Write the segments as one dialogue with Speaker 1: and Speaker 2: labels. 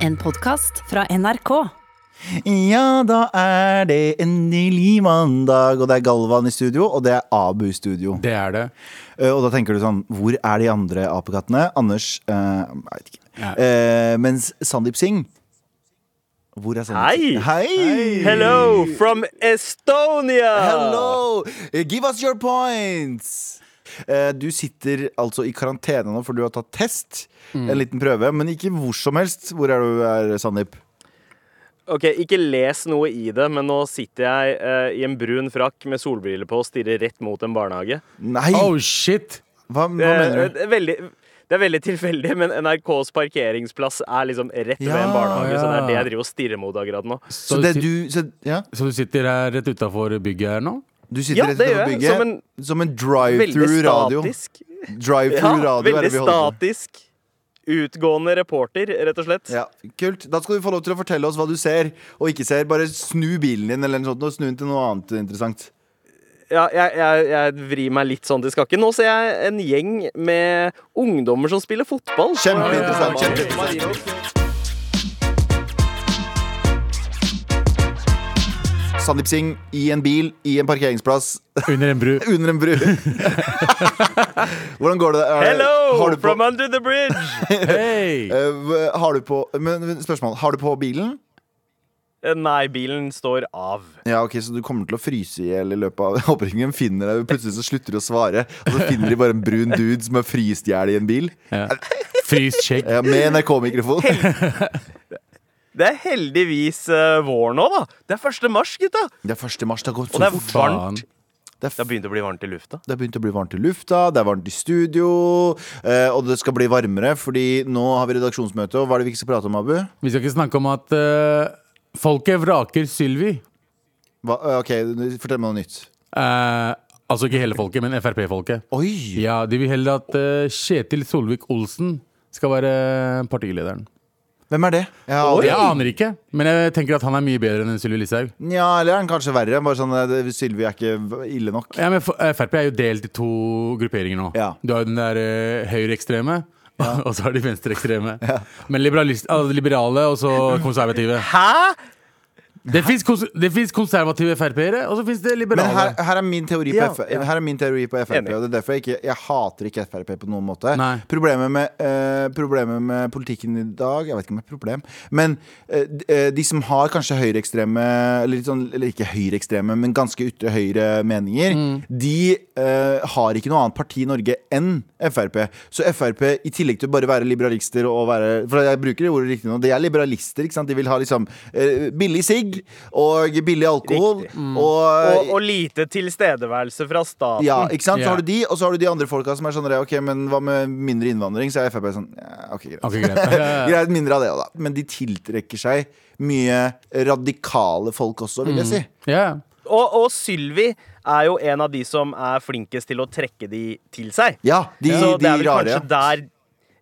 Speaker 1: En podkast fra NRK.
Speaker 2: Ja, da er det endelig mandag, og det er Galvan i studio, og det er Abu i studio.
Speaker 3: Det er det.
Speaker 2: Eh, Og da tenker du sånn, hvor er de andre apekattene? Anders, eh, jeg vet ikke.
Speaker 3: Ja.
Speaker 2: Eh, mens Sandeep Singh Hvor er Sandeep Singh?
Speaker 4: Hei!
Speaker 2: Hei!
Speaker 4: Hello from Estonia!
Speaker 2: Hello! Eh, Give us your points! Eh, Du sitter altså i karantene nå, for du har tatt test. En liten prøve, men ikke hvor som helst. Hvor er du, er, Sandeep?
Speaker 4: Ok, Ikke les noe i det, men nå sitter jeg eh, i en brun frakk med solbriller på og stirrer rett mot en barnehage.
Speaker 2: Nei!
Speaker 3: Oh shit!
Speaker 2: Hva, hva
Speaker 4: Eh,
Speaker 2: mener du?
Speaker 4: det, er veldig, det er veldig tilfeldig, men NRKs parkeringsplass er liksom rett ved en
Speaker 2: Ja,
Speaker 4: barnehage. Så det
Speaker 3: ja.
Speaker 4: er det jeg driver og stirrer mot akkurat nå.
Speaker 2: Så det er du så, Ja?
Speaker 3: så du sitter her rett utafor bygget her nå?
Speaker 2: Du
Speaker 4: Ja,
Speaker 2: sitter rett
Speaker 4: det
Speaker 2: utenfor
Speaker 4: gjør jeg,
Speaker 2: bygget.
Speaker 4: som
Speaker 2: Som
Speaker 4: en-
Speaker 2: en, drive-through
Speaker 4: Veldig
Speaker 2: radio.
Speaker 4: statisk.
Speaker 2: Drive-through
Speaker 4: Ja,
Speaker 2: radio er det
Speaker 4: veldig
Speaker 2: vi holder på med.
Speaker 4: statisk. Utgående reporter, rett og slett.
Speaker 2: Ja, kult. Da skal du få lov til å fortelle oss hva du ser og ikke ser. Bare snu bilen din eller noe sånt, og snu den til noe annet interessant.
Speaker 4: ja, jeg, jeg, jeg vrir meg litt sånn til skakken. Nå ser jeg en gjeng med ungdommer som spiller fotball.
Speaker 2: Kjempeinteressant.
Speaker 4: Ja, ja, ja.
Speaker 2: Sandeep Singh i en bil i en parkeringsplass
Speaker 3: Under en bru.
Speaker 2: under en bru. Hvordan går det? Er- har
Speaker 4: Hello
Speaker 2: du på,
Speaker 4: from under the bridge!
Speaker 3: Hey!
Speaker 2: Eh, hva- har du på men, men Spørsmål. Har du på bilen?
Speaker 4: Eh, Nei, bilen står av.
Speaker 2: Ja, ok, Så du kommer til å fryse i hjel i løpet av oppringningen? Finner deg, Plutselig så slutter du å svare, og så finner de bare en brun dude som er fryst i hjel i en bil.
Speaker 3: Ja. Frys shake.
Speaker 2: Ja, med NRK-mikrofon.
Speaker 4: Det er heldigvis eh, vår nå, da. Det er 1. mars, gutta.
Speaker 2: Det er 1. mars. Det har gått
Speaker 4: Og
Speaker 2: så
Speaker 4: det er
Speaker 2: fort.
Speaker 3: Faen.
Speaker 4: varmt.
Speaker 2: Det er
Speaker 4: Det har begynt å bli varmt i lufta.
Speaker 2: Det har begynt å bli varmt i lufta, det er varmt i studio, eh, og det skal bli varmere, fordi nå har vi redaksjonsmøte, og hva er det vi ikke skal prate om, Abu?
Speaker 3: Vi skal ikke snakke om at eh, folket vraker Sylvi.
Speaker 2: Hva, eh, ok, fortell meg noe nytt.
Speaker 3: Eh, altså ikke hele folket, men Frp-folket.
Speaker 2: Oi!
Speaker 3: Ja, De vil heller at eh, Kjetil Solvik-Olsen skal være eh, partilederen.
Speaker 2: Hvem er det? Ja,
Speaker 3: Jeg aner ikke, men jeg tenker at han er mye bedre enn Sylvi Listhaug.
Speaker 2: ja eller er han kanskje verre? Bare sånn, eh, det- Sylvi er ikke ille nok.
Speaker 3: Ja, men for- eh, Frp er jo delt i to grupperinger nå.
Speaker 2: Ja.
Speaker 3: Du har jo den der eh, høyreekstreme, og så har de venstreekstreme. Men liberalist, ah, liberale og så konservative.
Speaker 4: Hæ?
Speaker 3: Det fins kons det finnes konservative Frp-ere, og så fins det
Speaker 2: Men
Speaker 3: liberale.
Speaker 2: her, her er min teori på,
Speaker 4: Ja,
Speaker 2: F her er min teori på Frp,
Speaker 4: Enig.
Speaker 2: og det er derfor jeg ikke Jeg hater ikke Frp på noen måte.
Speaker 3: Nei.
Speaker 2: Problemet, med, eh, problemet med politikken i dag Jeg vet ikke om det er et problem, men eh, d- eh, de som har kanskje høyreekstreme eller, litt sånn, eller ikke høyreekstreme, men ganske ytre høyre meninger,
Speaker 3: Mm.
Speaker 2: de eh, har ikke noe annet parti i Norge enn Frp. Så Frp, i tillegg til å bare være liberalister og være For jeg bruker det ordet riktig nå, de er liberalister, ikke sant? De vil ha liksom eh, billig sigg og billig alkohol
Speaker 4: Riktig.
Speaker 3: Mm.
Speaker 2: og
Speaker 4: Og, og lite tilstedeværelse fra staten.
Speaker 2: ja, ikke sant? Så
Speaker 3: Ja.
Speaker 2: har du de, og så har du de andre folka som er sånn Ok, men hva med mindre innvandring? Så er Frp sånn ja, Ok, greit.
Speaker 3: Ok, greit.
Speaker 2: greit. Mindre av det, da. Men de tiltrekker seg mye radikale folk også,
Speaker 3: Mm.
Speaker 2: vil jeg si.
Speaker 3: Ja.
Speaker 4: Og, og Sylvi er jo en av de som er flinkest til å trekke de til seg.
Speaker 2: Ja, de,
Speaker 4: Så det
Speaker 2: de
Speaker 4: er vel
Speaker 2: rare.
Speaker 4: kanskje der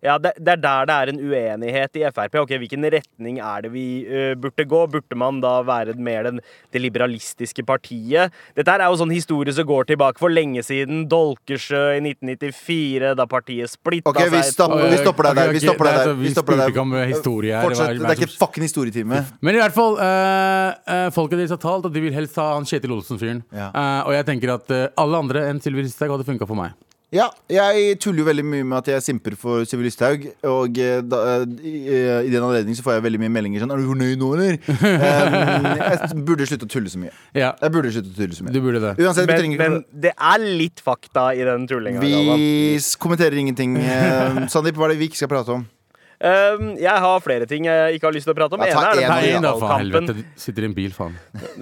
Speaker 4: ja, det, det er der det er en uenighet i Frp. Ok, Hvilken retning er det vi eh, burde gå? Burde man da være mer den, det liberalistiske partiet? Dette her er jo sånn historie som går tilbake for lenge siden. Dolkesjø i 1994, da partiet splitta
Speaker 2: Ok, vi
Speaker 4: seg.
Speaker 2: stopper, vi stopper deg
Speaker 3: Ok,
Speaker 2: der. Vi
Speaker 3: ok,
Speaker 2: stopper
Speaker 3: nei,
Speaker 2: deg der.
Speaker 3: altså, vi spurte ikke om historie her,
Speaker 2: Fortsett.
Speaker 3: det var-
Speaker 2: Det er ikke fucking historietime.
Speaker 3: Men i hvert fall, eh, eh, folket deres har talt, og de vil helst ha han Kjetil Olsen-fyren.
Speaker 2: Ja.
Speaker 3: Eh, og jeg tenker at eh, alle andre enn Sylvi Listhaug hadde funka for meg.
Speaker 2: Ja, jeg tuller jo veldig mye med at jeg simper for Sylvi Listhaug. Og eh, da, eh, i, eh, i den anledning så får jeg veldig mye meldinger sånn Er du fornøyd nå, eller? Eh, jeg burde slutte å tulle så mye.
Speaker 3: Ja,
Speaker 2: Jeg burde slutte å tulle så mye.
Speaker 3: du burde det.
Speaker 2: Uansett, vi
Speaker 4: Men,
Speaker 2: trenger ikke
Speaker 4: men det er litt fakta i den tullinga. Galvan.
Speaker 2: Vi s- kommenterer ingenting. Eh, Sandeep, hva er det vi ikke skal prate om?
Speaker 4: Um, jeg har flere ting jeg ikke har lyst til å prate om.
Speaker 2: Ja,
Speaker 4: Den
Speaker 2: ta
Speaker 4: ene er den
Speaker 2: en,
Speaker 3: Nei, da, faen
Speaker 4: fotballkampen.
Speaker 3: helvete. du Sitter i en bil, faen.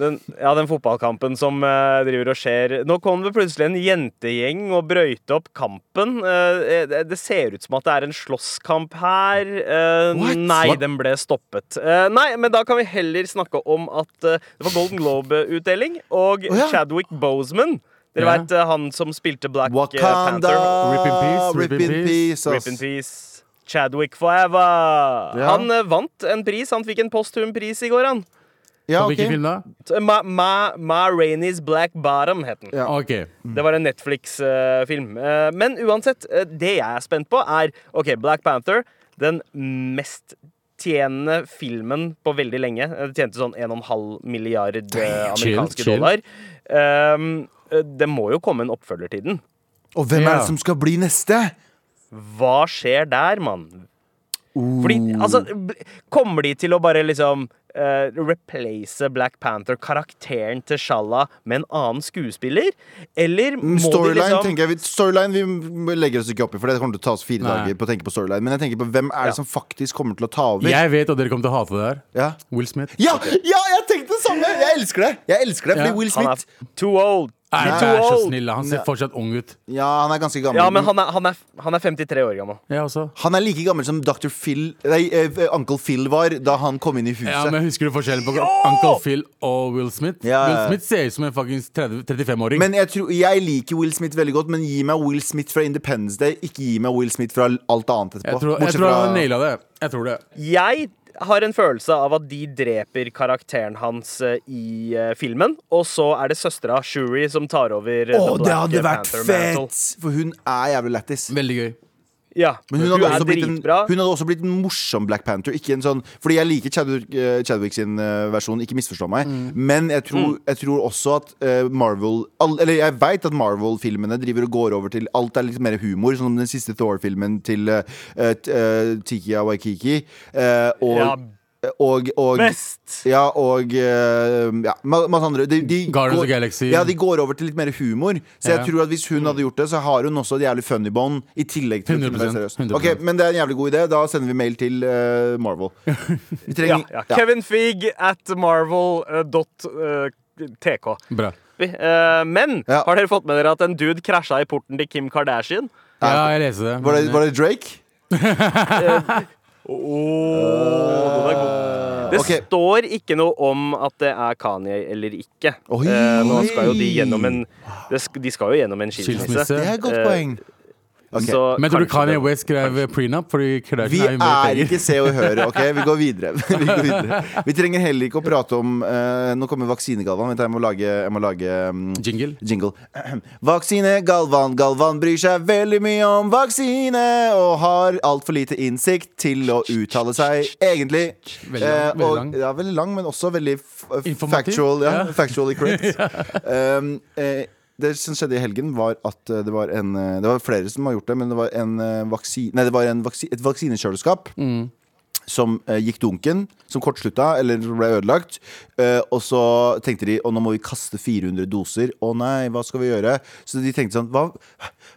Speaker 4: den, ja, den fotballkampen som eh, driver og skjer. Nå kom det plutselig en jentegjeng og brøyte opp kampen. Eh, det, det ser ut som at det er en slåsskamp her. Eh,
Speaker 3: What?
Speaker 4: nei,
Speaker 3: What?
Speaker 4: den ble stoppet. Eh, nei, men da kan vi heller snakke om at eh, det var Golden Globe-utdeling, og
Speaker 2: Å, ja.
Speaker 4: Chadwick Boseman. Dere
Speaker 3: Ja.
Speaker 4: vet eh, han som spilte Black eh,
Speaker 2: Wakanda!
Speaker 4: Panther.
Speaker 3: Rip in peace,
Speaker 2: Rip in peace, ass.
Speaker 4: Rip in peace. Chadwick forever.
Speaker 2: Ja.
Speaker 4: Han eh, vant en pris. Han fikk en posthum pris i går, han.
Speaker 2: Ja,
Speaker 3: Hvilken
Speaker 2: ok.
Speaker 3: film da?
Speaker 4: Ma, Ma, Ma Rainey's Black Bottom het den.
Speaker 2: Ja.
Speaker 3: Ok.
Speaker 4: Det var en Netflix-film. eh, men uansett, eh, det jeg er spent på, er OK, Black Panther. Den mest tjene filmen på veldig lenge. Det tjente sånn 1,5 milliard eh,
Speaker 3: Chill,
Speaker 4: amerikanske
Speaker 3: chill.
Speaker 4: dollar. Ehm, eh, det må jo komme en oppfølger til den.
Speaker 2: Og hvem er
Speaker 3: Ja.
Speaker 2: det som skal bli neste?
Speaker 4: Hva skjer der, mann? Fordi,
Speaker 2: Oh.
Speaker 4: altså, b- kommer de til å bare liksom eh, replace Black Panther-karakteren til Shalla med en annen skuespiller? Eller må de
Speaker 2: Storyline
Speaker 4: liksom
Speaker 2: tenker jeg vi, Storyline vi m- legger oss ikke opp i, for det kommer til å ta oss fire
Speaker 3: Nei.
Speaker 2: dager på å tenke på storyline. Men jeg tenker på hvem er det
Speaker 4: Ja.
Speaker 2: som faktisk kommer til å ta over?
Speaker 3: Jeg vet at dere kommer til å hate det her.
Speaker 2: Ja.
Speaker 3: Will Smith.
Speaker 2: Ja, ja, jeg tenkte det samme! Jeg elsker det! Jeg elsker det, fordi
Speaker 3: Ja.
Speaker 2: Will
Speaker 4: Han er
Speaker 2: Smith
Speaker 4: too old.
Speaker 3: Nei,
Speaker 4: He's
Speaker 3: du
Speaker 4: too
Speaker 3: er så
Speaker 4: old.
Speaker 3: snill. da. Han ser fortsatt ung ut.
Speaker 2: Ja, han er ganske gammel.
Speaker 4: Ja, men han er, han, er, han er 53 år gammel.
Speaker 3: Jeg også.
Speaker 2: Han er like gammel som Dr. Phil Nei, eh, Uncle Phil var da han kom inn i huset.
Speaker 3: Ja, men Husker du forskjellen på Uncle Phil og Will Smith?
Speaker 2: Ja, ja, ja.
Speaker 3: Will Smith ser ut som en fuckings 30 35-åring.
Speaker 2: Men jeg, tror, jeg liker Will Smith veldig godt, men gi meg Will Smith fra Independence Day. Ikke gi meg Will Smith fra alt annet etterpå.
Speaker 3: Jeg tror, jeg
Speaker 2: Bortsett
Speaker 3: tror han
Speaker 2: fra-
Speaker 3: naila det. Jeg tror det.
Speaker 4: Jeg har en følelse av at de dreper karakteren hans eh, i eh, filmen, og så er det søstera Shuri som tar over. eh,
Speaker 2: Å,
Speaker 4: The
Speaker 2: det
Speaker 4: Black
Speaker 2: hadde vært
Speaker 4: Panther mantle.
Speaker 2: fett! For hun er jævlig lættis.
Speaker 3: Veldig gøy.
Speaker 4: Ja,
Speaker 2: Men hun hadde,
Speaker 4: er
Speaker 2: også blitt en,
Speaker 4: dritbra.
Speaker 2: hun hadde også blitt en morsom Black Panther. Ikke en sånn, fordi jeg liker Chadwick, eh, Chadwick sin eh, versjon, ikke misforstå meg.
Speaker 4: Mm.
Speaker 2: Men jeg tror, jeg tror også at eh, Marvel all, Eller jeg veit at Marvel-filmene driver og går over til alt er litt mer humor, som den siste Thor-filmen til uh, Tikia Waikiki. eh, og,
Speaker 4: Ja.
Speaker 2: og, og
Speaker 4: Best!
Speaker 2: ja, og eh, ja, ma- masse andre. De, de
Speaker 3: Guardians
Speaker 2: går,
Speaker 3: of the Galaxy.
Speaker 2: Ja, de går over til litt mer humor. Så jeg
Speaker 3: Ja. Mm.
Speaker 2: tror at hvis hun hadde gjort det, så har hun også et jævlig funny bånd. I tillegg til 100%,
Speaker 3: 100%,
Speaker 2: seriøst.
Speaker 3: 100%.
Speaker 2: Ok, Men det er en jævlig god idé. Da sender vi mail til eh, Marvel. Vi
Speaker 4: Ja,
Speaker 2: trenger
Speaker 4: ja.
Speaker 2: ja.
Speaker 4: Kevin Feig at eh, marvel.tk.
Speaker 3: Bra.
Speaker 4: eh, Men
Speaker 2: Ja.
Speaker 4: har dere fått med dere at en dude krasja i porten til Kim Kardashian?
Speaker 3: Ja, jeg leser det.
Speaker 2: Var, det,
Speaker 3: men-
Speaker 2: var det Drake?
Speaker 4: Det
Speaker 2: Eh, Ok.
Speaker 4: står ikke noe om at det er Kanye eller ikke.
Speaker 2: Oi.
Speaker 4: Eh, Nå skal jo de gjennom en det sk- De skal jo gjennom en
Speaker 3: Skilsmisse.
Speaker 4: skilsisse.
Speaker 2: Det er et godt
Speaker 4: Eh,
Speaker 2: poeng. Ok,
Speaker 4: Så
Speaker 3: Men tror du
Speaker 4: kanskje
Speaker 3: Kanye
Speaker 4: det-
Speaker 3: West skrev prenup? Fordi
Speaker 2: Vi
Speaker 3: Kardashian er
Speaker 2: er
Speaker 3: jo mer penger.
Speaker 2: ikke Se og Hør, OK? Vi går videre. Vi, går videre. vi trenger heller ikke å prate om eh, Nå kommer vaksinegallaen. Vent, jeg må lage, jeg må lage mm,
Speaker 3: Jingle.
Speaker 2: Jingle. Vaksine Galvan. Galvan bryr seg veldig mye om vaksine og har altfor lite innsikt til å uttale seg, egentlig.
Speaker 3: Veldig lang,
Speaker 2: Eh,
Speaker 3: veldig
Speaker 2: og-
Speaker 3: lang.
Speaker 2: Ja, veldig lang, men også veldig f
Speaker 3: Informativ.
Speaker 2: factual. Ja,
Speaker 3: Ja.
Speaker 2: Factually correct. um, eh, det som skjedde i helgen, var at eh, det var en eh, Det var flere som har gjort det, men det var en eh, vaksi... Nei, det var en vaksi et vaksinekjøleskap som eh, gikk dunken, som kortslutta eller ble ødelagt. Eh, og så tenkte de å nå må vi kaste 400 doser. Å nei, hva skal vi gjøre? Så de tenkte sånn Hva,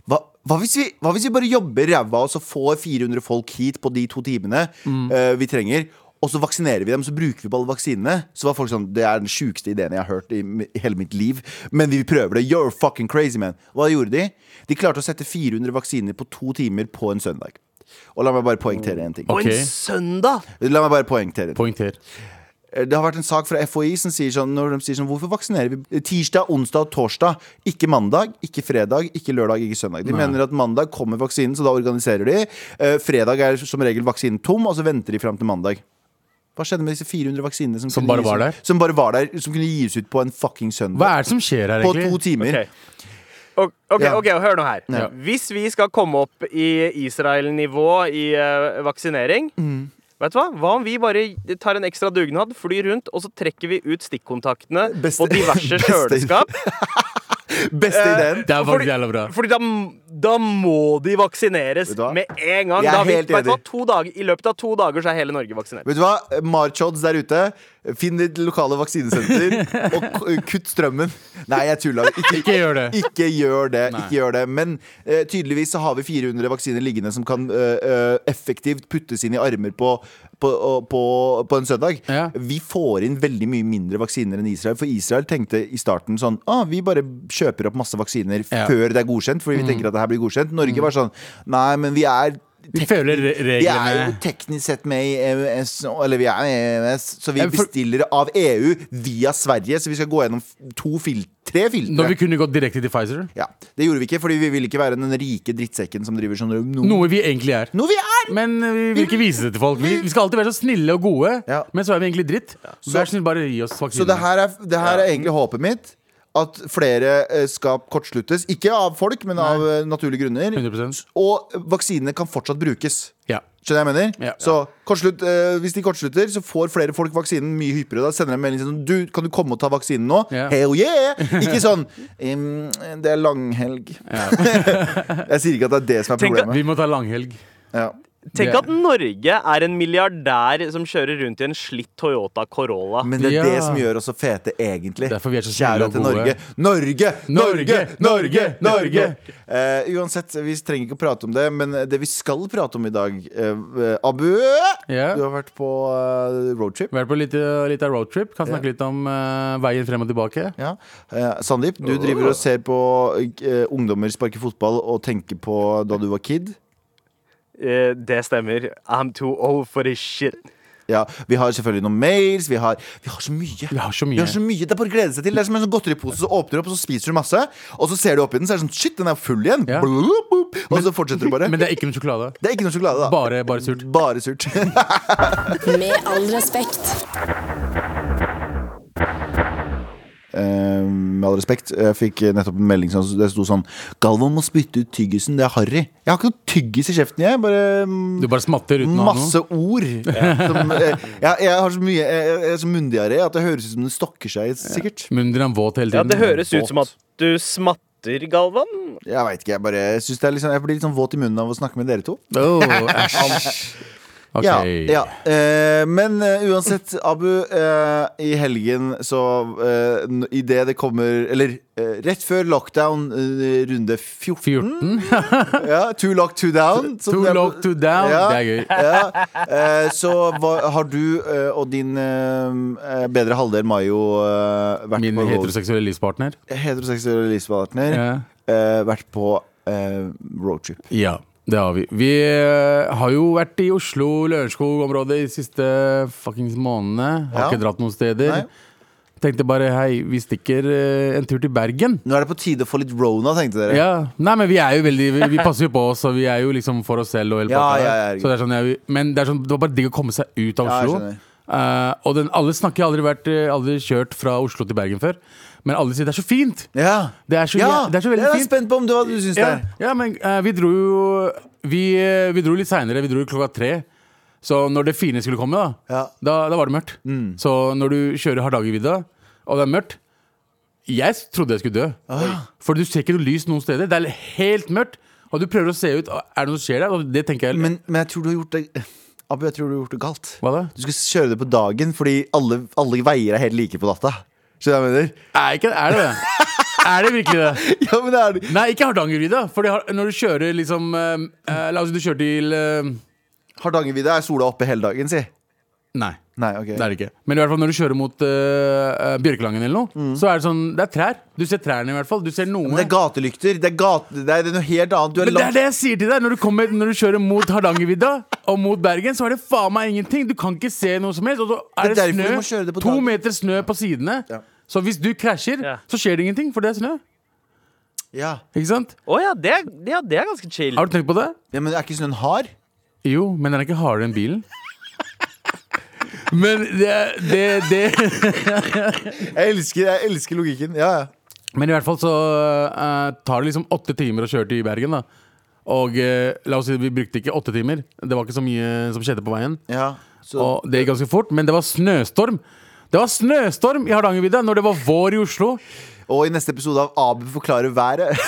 Speaker 2: hva, hva, hvis, vi, hva hvis vi bare jobber ræva og så får 400 folk hit på de to timene eh, vi trenger? Og så vaksinerer vi dem, så bruker vi på alle vaksinene. Så var folk sånn, Det er den sjukeste ideen jeg har hørt i, m- i hele mitt liv. Men vi prøver det. You're fucking crazy, man. Hva gjorde de? De klarte å sette 400 vaksiner på to timer på en søndag. Og la meg bare poengtere en ting.
Speaker 4: På
Speaker 3: Ok.
Speaker 4: en søndag!
Speaker 2: La meg bare poengtere. det. Eh,
Speaker 3: Poengter.
Speaker 2: Det har vært en sak fra FHI som sier sånn, når de sier sånn Hvorfor vaksinerer vi tirsdag, onsdag og torsdag? Ikke mandag, ikke fredag, ikke lørdag, ikke søndag. De mener at mandag kommer vaksinen, så da organiserer de. Eh, fredag er som regel vaksinen tom, og så venter de fram til mandag. Hva skjedde med disse 400 vaksinene som,
Speaker 3: Som
Speaker 2: kunne gis
Speaker 3: bare var
Speaker 2: ut-
Speaker 3: der?
Speaker 2: Som bare var der, som kunne gis ut på en fucking søndag?
Speaker 3: Hva er det som skjer her,
Speaker 2: På to
Speaker 3: egentlig?
Speaker 2: timer.
Speaker 4: Ok, Ok, ok,
Speaker 2: Ja.
Speaker 4: ok, hør nå her.
Speaker 3: Ja.
Speaker 4: Hvis vi skal komme opp i Israel-nivå i eh, vaksinering
Speaker 2: Mm.
Speaker 4: Vet du Hva Hva om vi bare tar en ekstra dugnad, flyr rundt, og så trekker vi ut stikkontaktene
Speaker 2: Beste-
Speaker 4: på diverse
Speaker 2: beste-
Speaker 4: kjøleskap?
Speaker 2: Beste ideen.
Speaker 3: Eh, Det er
Speaker 4: Fordi-
Speaker 3: faktisk jævla bra.
Speaker 4: Fordi da, da må de vaksineres
Speaker 2: Vet du hva?
Speaker 4: med en gang.
Speaker 2: Jeg er
Speaker 4: Da har vi,
Speaker 2: helt
Speaker 4: vet du hva,
Speaker 2: enig.
Speaker 4: to dager, I løpet av to dager så er hele Norge vaksinert.
Speaker 2: Vet du hva? Marchods der ute, finn ditt lokale vaksinesenter og k- kutt strømmen. Nei, jeg tulla. Ikke,
Speaker 3: Ikke gjør det.
Speaker 2: Ikke gjør det.
Speaker 3: Nei.
Speaker 2: ikke gjør det Men eh, tydeligvis så har vi 400 vaksiner liggende som kan eh, eh, effektivt puttes inn i armer på, på, og- på, på en søndag.
Speaker 3: Ja.
Speaker 2: Vi får inn veldig mye mindre vaksiner enn Israel, for Israel tenkte i starten sånn ah, Vi bare kjøper opp masse vaksiner
Speaker 3: Ja. Mm.
Speaker 2: før det er godkjent, fordi vi tenker at det her blir godkjent. Norge var sånn Nei, men vi er
Speaker 3: Vi følger re-
Speaker 2: vi er jo
Speaker 3: reglene.
Speaker 2: teknisk sett med i EØS, eller vi er med i EØS, så vi
Speaker 3: Ja, for-
Speaker 2: bestiller av EU via Sverige. Så vi skal gå gjennom f- to fil tre
Speaker 3: Når vi
Speaker 2: filtre.
Speaker 3: kunne gått direkte til Pfizer.
Speaker 2: Ja, det gjorde vi ikke, fordi vi ville ikke være den rike drittsekken som driver sånn no,
Speaker 3: Noe vi egentlig er.
Speaker 2: Noe vi er!
Speaker 3: Men vi vil ikke vise det til folk. Vi, vi skal alltid være så snille og gode,
Speaker 2: Ja.
Speaker 3: men så er vi egentlig dritt. Så vær snill, bare gi oss
Speaker 2: Så det
Speaker 3: vaksinen.
Speaker 2: her er, det her er egentlig håpet mitt. At flere eh, skal kortsluttes. Ikke av folk, men av eh, naturlige grunner.
Speaker 3: 100%.
Speaker 2: Og vaksinene kan fortsatt brukes.
Speaker 3: Ja.
Speaker 2: Skjønner jeg hva jeg mener?
Speaker 3: Ja.
Speaker 2: Så kortslutt, eh, Hvis de kortslutter, så får flere folk vaksinen mye hyppigere. Da sender de en melding sånn Du, kan du komme og ta vaksinen nå?
Speaker 3: Ja.
Speaker 2: Hell yeah! Ikke sånn «Em, Det er langhelg. jeg sier ikke at det er det som er
Speaker 4: Tenk at-
Speaker 2: problemet.
Speaker 3: Vi må ta langhelg.
Speaker 2: Ja.
Speaker 4: Tenk
Speaker 3: Det-
Speaker 4: at Norge er en milliardær som kjører rundt i en slitt Toyota Corolla.
Speaker 2: Men det er
Speaker 3: Ja.
Speaker 2: det som gjør oss så fete, egentlig.
Speaker 3: Derfor vi er så snille
Speaker 2: Kjære
Speaker 3: og
Speaker 2: til
Speaker 3: gode.
Speaker 2: Norge. Norge! Norge!
Speaker 3: Norge!
Speaker 2: Norge! Norge!
Speaker 3: Norge!
Speaker 2: Eh, uansett, vi trenger ikke å prate om det, men det vi skal prate om i dag eh, Abu,
Speaker 3: Ja.
Speaker 2: du har vært på eh, roadtrip.
Speaker 3: Vært på litt, eh, litt av roadtrip. Kan snakke litt om eh, veien frem og tilbake.
Speaker 2: Ja. Eh, Sandeep, du driver og ser på eh, ungdommer sparke fotball og tenker på da du var kid.
Speaker 4: Eh, det stemmer. I'm too old for this shit.
Speaker 2: Ja, Vi har selvfølgelig noen mails. Vi har, vi har så mye.
Speaker 3: Vi har så mye.
Speaker 2: Vi har så mye, Det er bare å glede seg til. Det er som en sånn godteripose. Så åpner du opp, og så spiser du masse. Og så ser du oppi den, så er det sånn Shit, den er full igjen.
Speaker 3: Ja.
Speaker 2: Blup, blup. Og så fortsetter du bare.
Speaker 3: Men det er ikke noe sjokolade.
Speaker 2: Det er ikke noe sjokolade, da.
Speaker 3: Bare, bare surt.
Speaker 2: Bare surt.
Speaker 1: Med all respekt.
Speaker 2: Eh, med all respekt, jeg fikk nettopp en melding som det sto sånn Galvan må spytte ut tyggisen, det er harry. Jeg har ikke noe tyggis i kjeften, jeg. Bare mm,
Speaker 3: Du bare smatter uten å ha noe.
Speaker 2: masse ord. Som, eh, jeg, jeg har så mye Jeg, jeg er så munndiaré at det høres ut som det stokker seg, sikkert.
Speaker 3: Munnen din er våt hele
Speaker 4: Ja,
Speaker 3: tiden.
Speaker 4: det høres ut
Speaker 2: Våt.
Speaker 4: som at du smatter, Galvan.
Speaker 2: Jeg veit ikke, jeg bare jeg, synes det er litt sånn- jeg blir litt sånn våt i munnen av å snakke med dere to.
Speaker 3: Åh, æsj. Ok.
Speaker 2: Ja, Mm, ja. Eh, men eh, uansett, Abu, eh, i helgen så eh, n- I det det kommer Eller eh, rett før lockdown, eh, runde 14,
Speaker 3: 14.
Speaker 2: Ja, Too lock, too down. som
Speaker 3: Too
Speaker 2: det er-
Speaker 3: low, too down.
Speaker 2: Ja.
Speaker 3: Det er gøy.
Speaker 2: ja, eh, så hva, har du eh, og din eh, bedre halvdel Mayo eh, vært
Speaker 3: Min
Speaker 2: på
Speaker 3: heteroseksuelle livspartner.
Speaker 2: road- heteroseksuelle livspartner
Speaker 3: Ja.
Speaker 2: eh, vært på eh, roadtrip.
Speaker 3: ja, det har vi. Vi eh, har jo vært i Oslo, Lørenskog-området de siste fuckings månedene. Har
Speaker 2: Ja.
Speaker 3: ikke dratt noen steder.
Speaker 2: Nei.
Speaker 3: Tenkte bare hei, vi stikker eh, en tur til Bergen.
Speaker 2: Nå er det på tide å få litt rona, tenkte dere.
Speaker 3: Ja. Nei, men vi er jo veldig Vi, vi passer jo på oss, og vi er jo liksom for oss selv. Og hele
Speaker 2: Ja,
Speaker 3: pakka
Speaker 2: ja,
Speaker 3: der.
Speaker 2: ja, ja.
Speaker 3: så det er sånn, jeg, men det, er sånn, det var bare digg å komme seg ut av
Speaker 2: Ja, jeg
Speaker 3: Oslo.
Speaker 2: skjønner.
Speaker 3: Eh, og den, alle snakker Jeg har aldri, vært, eh, aldri kjørt fra Oslo til Bergen før, men alle sier det er så fint!
Speaker 2: Ja.
Speaker 3: Det er så,
Speaker 2: Ja,
Speaker 3: det er så veldig
Speaker 2: jeg er
Speaker 3: fint.
Speaker 2: spent på om du, hva du syns
Speaker 3: Ja,
Speaker 2: det er.
Speaker 3: ja, men eh, vi dro jo Vi, eh, vi dro litt seinere. Vi dro klokka tre. Så når det fine skulle komme, da,
Speaker 2: Ja. Mm.
Speaker 3: da, da var det mørkt. Så når du kjører Hardangervidda, og det er mørkt Jeg s- trodde jeg skulle dø.
Speaker 2: Ah.
Speaker 3: For du ser ikke noe lys noen steder. Det er helt mørkt. Og du prøver å se ut. Er det noe som skjer der? Og det tenker jeg
Speaker 2: Men, men jeg tror du har gjort det Abu, jeg tror du har gjort det galt.
Speaker 3: Hva da?
Speaker 2: Du skal kjøre det på dagen fordi alle, alle veier er helt like på data. Skjønner du hva jeg mener?
Speaker 3: Er, ikke, er det det? er det virkelig det?
Speaker 2: Ja, men det er det.
Speaker 3: Nei, ikke Hardangervidda. For det har, når du kjører liksom eh, eh, La oss si du kjører til eh,
Speaker 2: Hardangervidda er sola oppe hele dagen, si.
Speaker 3: Nei.
Speaker 2: Nei, ok.
Speaker 3: Det er det ikke. Men i hvert fall når du kjører mot øh, øh, Bjørkelangen eller noe, så er det sånn Det er trær. Du ser trærne i hvert fall. Du ser noe.
Speaker 2: Mm. Men det er gatelykter. Det er, gate, det er noe helt annet. Du er
Speaker 3: Men det er
Speaker 2: langt
Speaker 3: det jeg sier til deg! Når du, kommer, når du kjører mot Hardangervidda og mot Bergen, så er det faen meg ingenting! Du kan ikke se noe som helst. Og så er
Speaker 2: Det er
Speaker 3: det,
Speaker 2: derfor vi må
Speaker 3: snø.
Speaker 2: kjøre det på
Speaker 3: to
Speaker 2: dagen.
Speaker 3: meter snø på sidene.
Speaker 2: Ja.
Speaker 3: Så hvis du krasjer,
Speaker 4: Ja.
Speaker 3: så skjer det ingenting, for det er snø.
Speaker 2: ja.
Speaker 3: Ikke sant?
Speaker 4: Å ja, det, er- ja, det er ganske chill.
Speaker 3: Har du tenkt på det?
Speaker 2: ja, men er ikke snøen hard?
Speaker 3: Jo, men den er ikke hardere enn bilen. Men det, det, det
Speaker 2: Jeg elsker, jeg elsker logikken. Ja, ja.
Speaker 3: Men i hvert fall så eh, tar det liksom åtte timer å kjøre til Bergen, da. Og eh, la oss si vi brukte ikke åtte timer. Det var ikke så mye som skjedde på veien.
Speaker 2: ja. Så
Speaker 3: Og det gikk ganske fort, men det var snøstorm. Det var snøstorm i Hardangervidda når det var vår i Oslo.
Speaker 2: Og i neste episode av Abu forklarer været.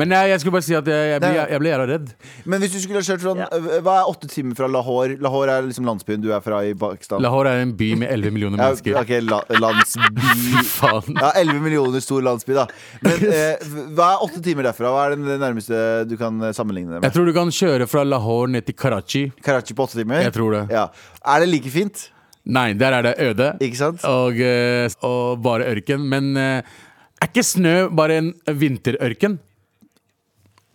Speaker 3: Men jeg, jeg skulle bare si at jeg, jeg, ble, jeg, jeg ble jævla redd.
Speaker 2: Men hvis du skulle ha kjørt fra
Speaker 4: Ja.
Speaker 2: Hva er åtte timer fra Lahore? Lahore er liksom landsbyen du er fra i Pakistan.
Speaker 3: Lahore er en by med 11 millioner
Speaker 2: Ja,
Speaker 3: mennesker.
Speaker 2: ok, la, landsby
Speaker 3: Faen.
Speaker 2: Ja, 11 millioner stor landsby, da. Men eh, hva er åtte timer derfra? Hva er den nærmeste du kan eh, sammenligne det
Speaker 3: Jeg
Speaker 2: med?
Speaker 3: tror du kan kjøre fra Lahore ned til Karachi.
Speaker 2: Karachi på åtte timer?
Speaker 3: Jeg tror det.
Speaker 2: Ja. Er det like fint?
Speaker 3: Nei, der er det øde.
Speaker 2: Ikke sant?
Speaker 3: Og, eh, og bare ørken. Men eh, er ikke snø bare en vinterørken?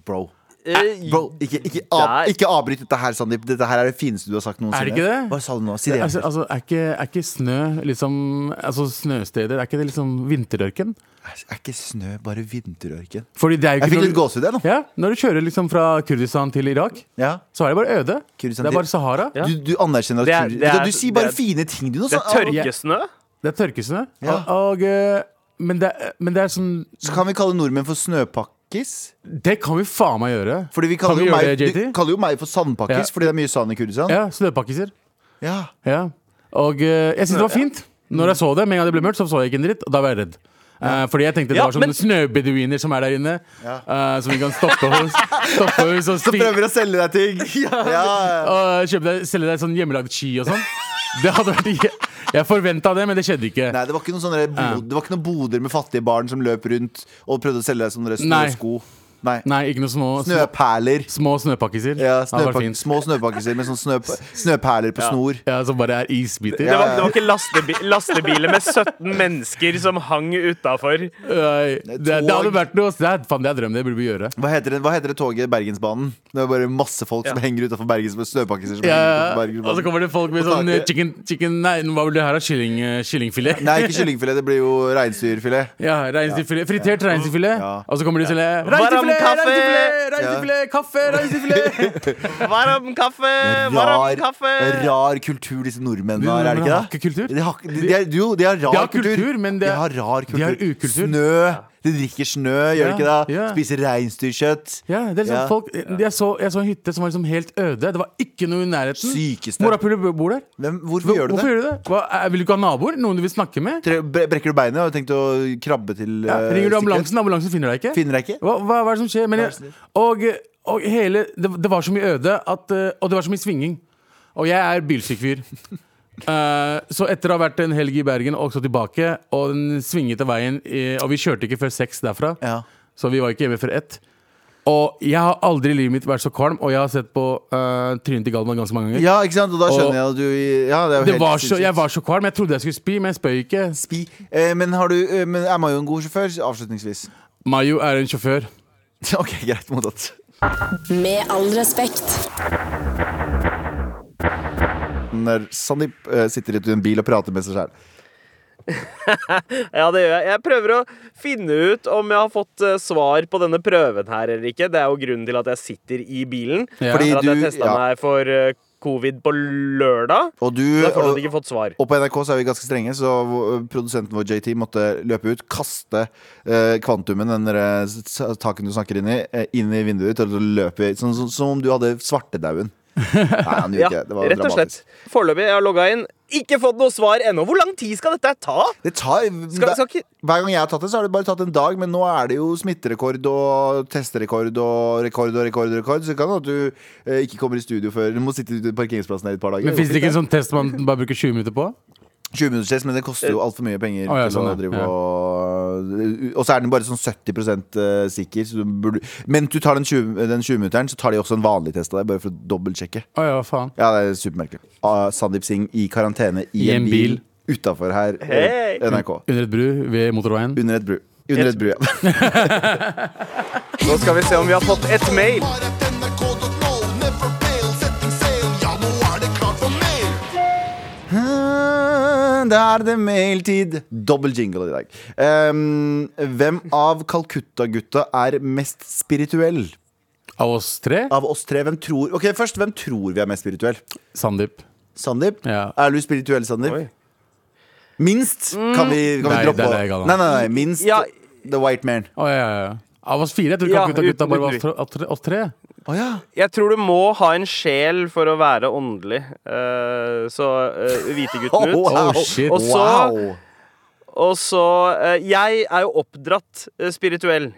Speaker 2: Bro.
Speaker 4: Eh,
Speaker 2: Bro, ikke, ikke, av,
Speaker 4: Der.
Speaker 2: ikke avbryt dette her, Sandeep. Dette her er det fineste du har sagt noensinne.
Speaker 3: Er det ikke det?
Speaker 2: Hva sa du nå? Si det.
Speaker 3: Altså,
Speaker 2: igjen.
Speaker 3: altså er, ikke, er ikke snø liksom Altså snøsteder, er ikke det liksom vinterørken?
Speaker 2: Er ikke snø bare vinterørken?
Speaker 3: Fordi det altså-
Speaker 2: Jeg
Speaker 3: er jo ikke
Speaker 2: fikk
Speaker 3: når
Speaker 2: litt
Speaker 3: du-
Speaker 2: gåsehud, jeg nå.
Speaker 3: Ja, Når du kjører liksom fra Kurdistan til Irak,
Speaker 2: Ja.
Speaker 3: så er det bare øde.
Speaker 2: Kurdistan
Speaker 3: det er
Speaker 2: til-
Speaker 3: bare Sahara.
Speaker 4: Ja.
Speaker 2: Du, du anerkjenner at
Speaker 4: Det er-
Speaker 2: Vet
Speaker 4: det
Speaker 2: du, hva,
Speaker 4: er-
Speaker 2: du sier bare
Speaker 4: det er-
Speaker 2: fine ting, du nå.
Speaker 4: det
Speaker 2: så- ah,
Speaker 4: er tørkesnø.
Speaker 3: Det er tørkesnø.
Speaker 2: Ja.
Speaker 3: Og, og, eh, men, det er, men det er sånn
Speaker 2: Så kan vi kalle nordmenn for snøpakk... sandpakkis?
Speaker 3: Det kan vi faen meg gjøre.
Speaker 2: Fordi vi
Speaker 3: Kan
Speaker 2: kaller,
Speaker 3: vi
Speaker 2: jo
Speaker 3: gjøre
Speaker 2: meg,
Speaker 3: det,
Speaker 2: du
Speaker 3: JT?
Speaker 2: kaller jo meg for sandpakkis
Speaker 3: Ja.
Speaker 2: fordi det er mye sand i Kurdistan.
Speaker 3: Ja, Snøpakkiser.
Speaker 2: Ja.
Speaker 3: Ja. Og eh, jeg syns det var fint. Når jeg så det, med en gang det ble mørkt, så så jeg ikke en dritt. Og da var jeg redd. Eh, fordi jeg tenkte det
Speaker 4: Ja,
Speaker 3: var sånne
Speaker 4: men-
Speaker 3: snøbeduiner som er der inne, eh, som vi kan stoppe hos. Stoppe hos
Speaker 2: Så
Speaker 3: og spi-
Speaker 2: prøver å selge deg ting. ja.
Speaker 3: og kjøpe deg, selge deg sånn hjemmelagd ski og sånn. Det hadde vært Jeg, jeg forventa det, men det skjedde ikke.
Speaker 2: Nei, det var ikke noen sånne bod, Det var ikke noen boder med fattige barn som løp rundt og prøvde å selge deg sånne
Speaker 3: Nei.
Speaker 2: snøsko. Nei.
Speaker 3: Nei, ikke noe små, små,
Speaker 2: Snøperler.
Speaker 3: små snøpakkiser.
Speaker 2: Ja,
Speaker 3: Det hadde vært
Speaker 2: snøpak
Speaker 3: fint.
Speaker 2: små snøpakkiser med sånn snø, snøperler på snor.
Speaker 3: Ja, som bare er isbiter.
Speaker 4: Det var, det var ikke lastebi lastebiler med 17 mennesker som hang utafor.
Speaker 3: Nei, det, det hadde
Speaker 2: Tog.
Speaker 3: vært noe ass. Det er, faen, det er drømmen det burde vi gjøre.
Speaker 2: Hva heter, det, hva heter det toget? Bergensbanen? Det er bare masse folk som henger utafor Bergens med snøpakkiser. Som
Speaker 3: Ja,
Speaker 2: henger utenfor
Speaker 3: og så
Speaker 4: Altså,
Speaker 2: Bergensbanen.
Speaker 3: kommer det folk med
Speaker 2: På
Speaker 3: sånn eh,
Speaker 2: taket.
Speaker 3: chicken, chicken Nei, hva vil det her? da? Kylling, eh, kyllingfilet?
Speaker 2: Nei, ikke kyllingfilet. Det blir jo reinsdyrfilet.
Speaker 3: Ja, reinsdyrfilet. Fritert reinsdyrfilet.
Speaker 2: Ja.
Speaker 3: Og så kommer de og selger reinsdyrfilet,
Speaker 4: Varm kaffe!
Speaker 3: reinsdyrfilet, reinsdyrfilet, kaffe, reinsdyrfilet.
Speaker 4: Varm kaffe! Varm kaffe!
Speaker 2: rar kultur disse nordmennene har, er det
Speaker 3: Nordmennene
Speaker 2: ikke
Speaker 3: har
Speaker 2: det?
Speaker 3: ikke kultur.
Speaker 2: De har, ikke- de, de, er- jo, de har rar
Speaker 3: De har kultur, men
Speaker 2: de
Speaker 3: det-
Speaker 2: har rar kultur.
Speaker 3: de har ukultur.
Speaker 2: Snø. De drikker snø, gjør de
Speaker 3: Ja,
Speaker 2: ikke det?
Speaker 3: ja.
Speaker 2: Spiser reinsdyrkjøtt.
Speaker 3: Ja, det er liksom
Speaker 2: Ja.
Speaker 3: folk jeg så, jeg så en hytte som var liksom helt øde. Det var ikke noe i nærheten.
Speaker 2: Sykeste.
Speaker 3: Morapuler bor der.
Speaker 2: Hvem, hvorfor gjør du det?
Speaker 3: Hvorfor
Speaker 2: Eh,
Speaker 3: gjør du det? Hva, eh, vil du ikke ha naboer? Noen du vil snakke med?
Speaker 2: Tre- bre- Brekker du beinet? Har du tenkt å krabbe til
Speaker 3: Ja,
Speaker 2: eh,
Speaker 3: ringer du
Speaker 2: sikkerhet?
Speaker 3: ambulansen? Ambulansen finner deg ikke.
Speaker 2: Finner deg ikke?
Speaker 3: Hva, hva, hva er det som skjer? Men
Speaker 2: Hva er det som
Speaker 3: jeg, og, og hele det, det var så mye øde, at, eh, og det var så mye svinging. Og jeg er bilsyk fyr. Eh, så etter å ha vært en helg i Bergen og så tilbake, og den svingete veien eh, Og vi kjørte ikke før seks derfra,
Speaker 2: Ja.
Speaker 3: så vi var ikke hjemme før ett. Og jeg har aldri i livet mitt vært så kvalm, og jeg har sett på eh, trynet til Galvan ganske mange ganger.
Speaker 2: ja, ikke sant? Og da skjønner jeg at du Ja, det er jo
Speaker 3: Det
Speaker 2: helt
Speaker 3: var så,
Speaker 2: sinnssykt.
Speaker 3: jeg var så kvalm. Jeg trodde jeg skulle spy, men jeg spøy ikke.
Speaker 2: Spi. Eh, men, har du, eh, men er man jo en god sjåfør? Avslutningsvis.
Speaker 3: Mayo er en sjåfør.
Speaker 2: Ok, greit mottatt.
Speaker 1: Med all respekt.
Speaker 2: Når Sandeep eh, sitter i en bil og prater med seg sjæl.
Speaker 4: Ja, det gjør jeg. Jeg prøver å finne ut om jeg har fått eh, svar på denne prøven her eller ikke. Det er jo grunnen til at jeg sitter i bilen.
Speaker 3: Ja.
Speaker 4: Fordi
Speaker 2: Fordi
Speaker 4: at jeg
Speaker 2: du-
Speaker 4: testa
Speaker 2: ja.
Speaker 4: meg for eh, covid på lørdag.
Speaker 2: Og du
Speaker 4: Da har
Speaker 2: og,
Speaker 4: fortsatt ikke fått svar.
Speaker 2: og på NRK så er vi ganske strenge, så v- eh, produsenten vår JT måtte løpe ut, kaste eh, kvantumen, den der, eh, s- taken du snakker inn i, eh, inn i vinduet ditt, og så løpe i- sånn som som om du hadde svartedauden. Nei, han gjorde
Speaker 4: Ja,
Speaker 2: ikke det. Det var
Speaker 4: rett og slett.
Speaker 2: dramatisk.
Speaker 4: Foreløpig. Jeg har logga inn. Ikke fått noe svar ennå. Hvor lang tid skal dette ta?
Speaker 2: Det tar,
Speaker 4: Skal, skal ikke
Speaker 2: Hver gang jeg har tatt det, så har det bare tatt en dag, men nå er det jo smitterekord og testerekord og rekord og rekord, og rekord så det kan hende at du eh, ikke kommer i studio før Du må sitte ute på parkeringsplassen her i et par dager.
Speaker 3: Men fins det ikke en sånn test man bare bruker 20 minutter på?
Speaker 2: 20 minutters test, men det koster jo altfor mye penger.
Speaker 3: Å, ja,
Speaker 2: til å
Speaker 3: sånn, ja.
Speaker 2: drive
Speaker 3: Ja.
Speaker 2: og, og så er den bare sånn 70 eh, sikker. Så du burde, men du tar den 20 den 20-minutteren, så tar de også en vanlig test av deg, bare for å dobbeltsjekke.
Speaker 3: Å ja, hva faen.
Speaker 2: Ja, det er supermerkelig. Ah, Sandeep Singh i karantene i, en bil, utafor her. eh,
Speaker 4: Hei!
Speaker 2: NRK.
Speaker 3: Under et bru ved motorveien.
Speaker 2: Under et bru. Under et bru, ja.
Speaker 4: Nå skal vi se om vi har fått et mail.
Speaker 2: Hm, Da er det mailtid. Dobbel jingle i dag. Ehm, hvem av Calcutta-gutta er mest spirituell?
Speaker 3: Av oss tre?
Speaker 2: Av oss tre, hvem tror Ok, først, hvem tror vi er mest spirituell?
Speaker 3: Sandeep.
Speaker 2: Sandeep?
Speaker 3: Ja.
Speaker 2: Er du spirituell, Sandeep?
Speaker 4: Oi.
Speaker 2: Minst? Kan vi, kan
Speaker 3: Nei,
Speaker 2: vi droppe
Speaker 3: det er det jeg kan.
Speaker 2: Nei, nei, nei, minst
Speaker 4: Ja.
Speaker 2: the white man.
Speaker 3: Å, ja, ja, ja. Av oss fire? Jeg tror
Speaker 4: Ja,
Speaker 3: ikke gutta, gutta
Speaker 4: uten
Speaker 3: bare var
Speaker 4: Ludvig.
Speaker 3: oss tre- oss tre- oss tre.
Speaker 2: Å ja.
Speaker 4: Jeg tror du må ha en sjel for å være åndelig. Eh, så uh, hvitegutten ut.
Speaker 3: wow. Oh, shit.
Speaker 4: Og så,
Speaker 2: Wow.
Speaker 4: Og så eh, Jeg er jo oppdratt eh, spirituell.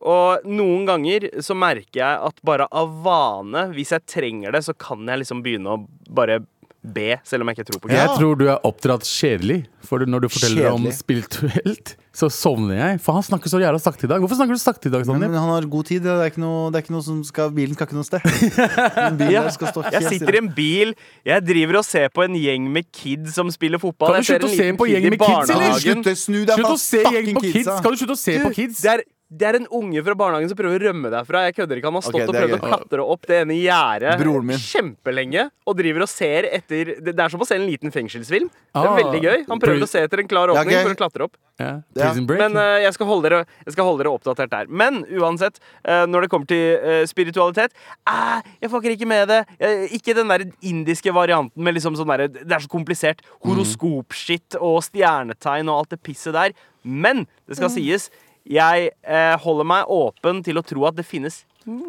Speaker 4: Og noen ganger så merker jeg at bare av vane, hvis jeg trenger det, så kan jeg liksom begynne å bare be, selv om jeg ikke tror på Gud.
Speaker 2: Ja.
Speaker 3: Jeg tror du er oppdratt kjedelig. For når du forteller om
Speaker 2: Kjedelig.
Speaker 3: spirituelt, så sovner jeg. For han snakker så jævla sakte i dag. Hvorfor snakker du sakte i dag,
Speaker 2: Men
Speaker 3: Sandeep?
Speaker 2: han har god tid. Det er ikke noe, det er ikke noe som skal Bilen skal ikke noe sted. Den bilen
Speaker 4: Ja.
Speaker 2: der skal stå
Speaker 4: Jeg sitter i en bil, jeg driver og ser på en gjeng med kids som spiller fotball.
Speaker 3: Kan du
Speaker 4: Jeg ser
Speaker 3: slutte å
Speaker 4: en
Speaker 3: se
Speaker 4: liten
Speaker 3: på
Speaker 4: kid
Speaker 3: gjeng
Speaker 4: i
Speaker 3: med kids, eller?
Speaker 4: barnehagen.
Speaker 3: Slutt
Speaker 2: Slutt, snu deg
Speaker 3: Slutt å se gjeng på kids!
Speaker 2: kidsa.
Speaker 3: Skal du slutte å se på kids?
Speaker 4: Det er, det er en unge fra barnehagen som prøver å rømme derfra. Jeg kødder ikke. Han har stått
Speaker 2: Ok,
Speaker 4: og
Speaker 2: det er
Speaker 4: prøvd å
Speaker 2: gøy.
Speaker 4: klatre opp det ene
Speaker 2: Broren min.
Speaker 4: gjerdet kjempelenge. Og driver og ser etter Det det er som å se en liten fengselsfilm. Det er
Speaker 3: Ah.
Speaker 4: veldig gøy. Han prøver å se etter en klar
Speaker 2: Ja,
Speaker 4: åpning
Speaker 2: gøy.
Speaker 4: for å klatre opp.
Speaker 3: Ja.
Speaker 2: Ja.
Speaker 3: Prison break.
Speaker 4: Men eh, jeg, skal holde dere, jeg skal holde dere oppdatert der. Men uansett, eh, når det kommer til eh, spiritualitet eh, Jeg fucker ikke med det. Eh, ikke den der indiske varianten med liksom sånn derre Det er så komplisert.
Speaker 2: Mhm. Mhm.
Speaker 4: Horoskopskitt og stjernetegn og alt det pisset der. Men det skal sies, Jeg eh, holder meg åpen til å tro at det finnes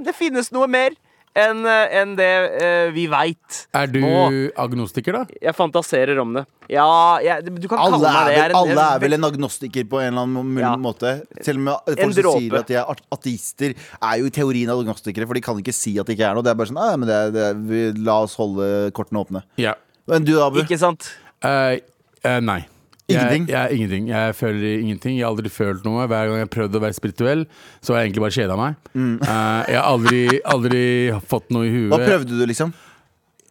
Speaker 4: Det finnes noe mer enn eh, enn det eh, vi veit.
Speaker 3: Er du
Speaker 4: Å.
Speaker 3: agnostiker, da?
Speaker 4: Jeg fantaserer om det. Ja, jeg, du kan
Speaker 2: Alle
Speaker 4: kalle meg
Speaker 2: er,
Speaker 4: det. Jeg
Speaker 2: vel,
Speaker 4: en-
Speaker 2: alle er vel en agnostiker på en eller annen mulig
Speaker 4: Ja.
Speaker 2: måte. Selv om folk
Speaker 4: En
Speaker 2: som sier
Speaker 4: dråpe.
Speaker 2: at de er at- ateister, er jo i teorien agnostikere, for de kan ikke si at det ikke er noe. Det er bare sånn «Ah, men det er, det er, vi, La oss holde kortene åpne.
Speaker 3: Ja.
Speaker 2: Men du, Abu?
Speaker 4: Ikke sant?
Speaker 3: Eh, eh, nei.
Speaker 2: Ingenting?
Speaker 3: Jeg, jeg, ingenting. jeg føler ingenting. Jeg har aldri følt noe. Hver gang jeg har prøvd å være spirituell, så har jeg egentlig bare kjeda meg. Eh, jeg har aldri, aldri fått noe i
Speaker 2: Mm. Hva
Speaker 3: huet. Eh,
Speaker 2: prøvde du, liksom?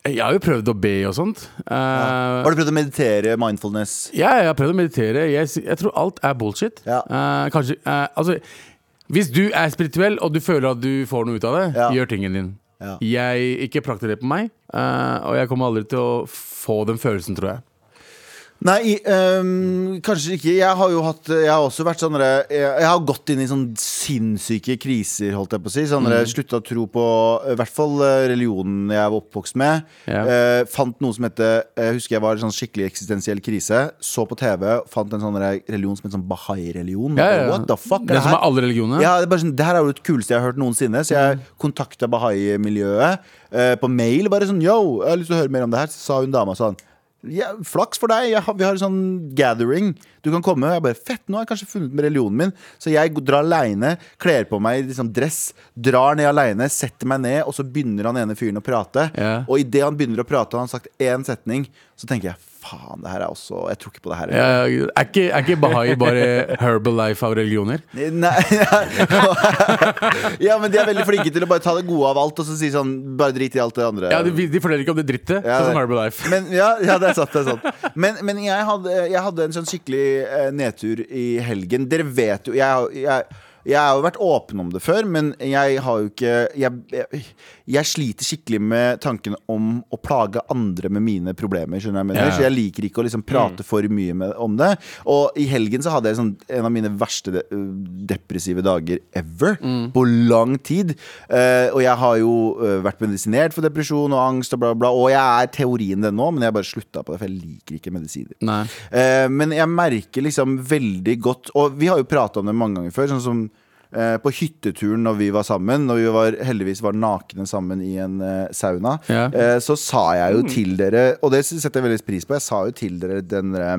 Speaker 3: Jeg har jo prøvd å be og sånt. Eh,
Speaker 2: Har du prøvd å meditere mindfulness?
Speaker 3: Ja, jeg har prøvd å meditere. Jeg, s- jeg tror alt er bullshit.
Speaker 2: Ja.
Speaker 3: Eh, kanskje eh, Altså, hvis du er spirituell og du føler at du får noe ut av det,
Speaker 2: Ja.
Speaker 3: gjør tingen din.
Speaker 2: Ja.
Speaker 3: Jeg ikke prakter det på meg, eh, og jeg kommer aldri til å få den følelsen, tror jeg.
Speaker 2: Nei, i- øhm, kanskje ikke. Jeg har jo hatt Jeg har også vært sånn derre- jeg, jeg har gått inn i sånn sinnssyke kriser, holdt jeg på å si. Sånn
Speaker 3: Mm.
Speaker 2: derre Slutta å tro på i hvert fall eh, religionen jeg var oppvokst med.
Speaker 3: Ja.
Speaker 2: Eh, fant noe som het Jeg husker jeg var i sånn skikkelig eksistensiell krise. Så på TV, fant en sånn derre religion som het sånn bahai-religion.
Speaker 3: Ja, ja, ja.
Speaker 2: What the fuck?
Speaker 3: Det som er alle religionene.
Speaker 2: Ja, det, er bare sånn, det her er jo det kuleste jeg har hørt noensinne. Så
Speaker 3: Mm.
Speaker 2: jeg kontakta Bahai-miljøet eh, på mail. Bare sånn Yo, jeg har lyst til å høre mer om det her. Så sa hun dama sånn ja, Flaks for deg, jeg har, vi har en sånn gathering. Du kan komme. Og jeg bare Fett, nå har jeg kanskje funnet med religionen min. Så jeg drar aleine, kler på meg i liksom dress, drar ned aleine, setter meg ned, og så begynner han ene fyren å prate.
Speaker 3: Ja.
Speaker 2: Og idet han begynner å prate, og han har sagt én setning, så tenker jeg faen, det her er også Jeg tror ikke på det her.
Speaker 3: Ja, ja, er, ikke, er ikke bahai bare herbal life av religioner?
Speaker 2: Nei Ja, men de er veldig flinke til å bare ta det gode av alt Og så si sånn, bare drit i alt det andre
Speaker 3: Ja, De, de forteller ikke om det drittet,
Speaker 2: Ja,
Speaker 3: sånn som
Speaker 2: det-
Speaker 3: herbal life.
Speaker 2: men, ja, ja, det er sant, det er sant. Men, men jeg, hadde, jeg hadde en sånn skikkelig eh, nedtur i helgen Dere vet jo, jeg, jeg, jeg har jo vært åpen om det før Men jeg har jo ikke jeg, jeg, jeg sliter skikkelig med tanken om å plage andre med mine problemer Skjønner du hva jeg mener?
Speaker 3: Ja.
Speaker 2: Så jeg liker ikke å liksom prate for mye med, om det Og i helgen så hadde jeg sånn, en av mine verste de, øh, depressive dager ever På lang tid Eh, Og jeg har jo eh, vært medisinert for depresjon og angst og bla bla bla, Og jeg er teorien det nå, men jeg bare slutta på det For jeg liker ikke medisiner
Speaker 3: Nei.
Speaker 2: Eh, men jeg merker liksom veldig godt Og vi har jo prata om det mange ganger før. Sånn som eh, på hytteturen når vi var sammen, når vi var, heldigvis var nakne sammen i en eh, sauna,
Speaker 3: Ja.
Speaker 2: eh, så sa jeg jo til dere, og det setter jeg veldig pris på, jeg sa jo til dere den derre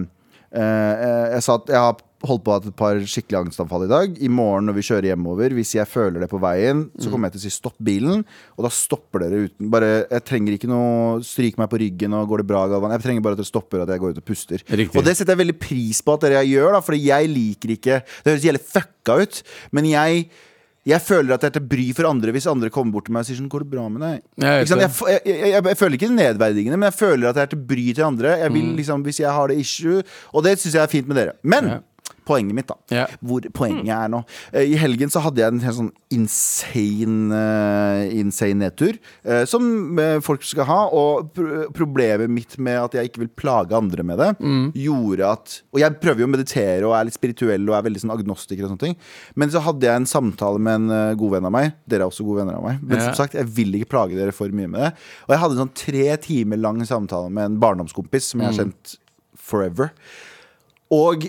Speaker 2: eh, eh, Jeg sa at jeg har holdt på å ha hatt et par skikkelig angstanfall i dag. I morgen når vi kjører hjemover, hvis jeg føler det på veien, så kommer jeg til å si stopp bilen, og da stopper dere uten Bare, jeg trenger ikke noe Stryk meg på ryggen og går det bra, Galvan. Jeg trenger bare at dere stopper, og at jeg går ut og puster.
Speaker 3: Riktig.
Speaker 2: Og det setter jeg veldig pris på at dere gjør, da, fordi jeg liker ikke Det høres jævlig fucka ut, men jeg jeg føler at jeg er til bry for andre hvis andre kommer bort til meg og sier sånn, går det bra med deg?
Speaker 3: Jeg vet
Speaker 2: Ikke sant?
Speaker 3: det.
Speaker 2: Jeg, f- jeg, jeg, jeg, jeg føler ikke nedverdigende, men jeg føler at jeg er til bry til andre. Jeg vil liksom, Hvis jeg har det issue, og det syns jeg er fint med dere. Men poenget mitt, da.
Speaker 3: Ja.
Speaker 2: Hvor poenget er nå. Eh, I helgen så hadde jeg en helt sånn insane, eh, insane nedtur, eh, som eh, folk skal ha. Og pro problemet mitt med at jeg ikke vil plage andre med det, gjorde at Og jeg prøver jo å meditere og er litt spirituell og er veldig sånn agnostiker og sånne ting. Men så hadde jeg en samtale med en eh, god venn av meg. Dere er også gode venner av meg. Men
Speaker 3: Ja.
Speaker 2: som sagt, jeg vil ikke plage dere for mye med det. Og jeg hadde en sånn tre timer lang samtale med en barndomskompis som jeg
Speaker 3: Mm.
Speaker 2: har kjent forever. Og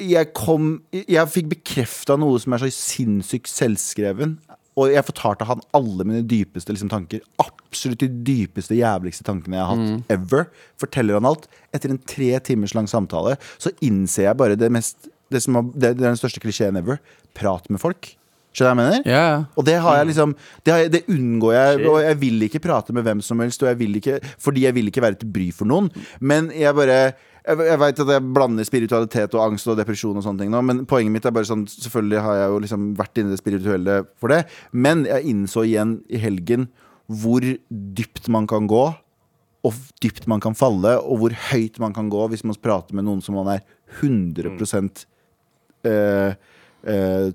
Speaker 2: jeg kom Jeg fikk bekrefta noe som er så sinnssykt selvskreven. Og jeg fortalte han alle mine dypeste liksom, tanker. Absolutt de dypeste, jævligste tankene jeg har hatt
Speaker 3: Mm.
Speaker 2: ever. Forteller han alt. Etter en tre timers lang samtale så innser jeg bare det mest Det, som har, det, det er den største klisjeen ever. Prat med folk. Skjønner du hva jeg mener?
Speaker 3: Ja, ja.
Speaker 2: Og det har jeg liksom det, har jeg, det unngår jeg. Og jeg vil ikke prate med hvem som helst, og jeg vil ikke, fordi jeg vil ikke være til bry for noen. Men jeg bare jeg, jeg veit at jeg blander spiritualitet og angst og depresjon og sånne ting nå, men poenget mitt er bare sånn Selvfølgelig har jeg jo liksom vært inne i det spirituelle for det, men jeg innså igjen i helgen hvor dypt man kan gå, og f- dypt man kan falle, og hvor høyt man kan gå hvis man prater med noen som man er 100 eh, eh,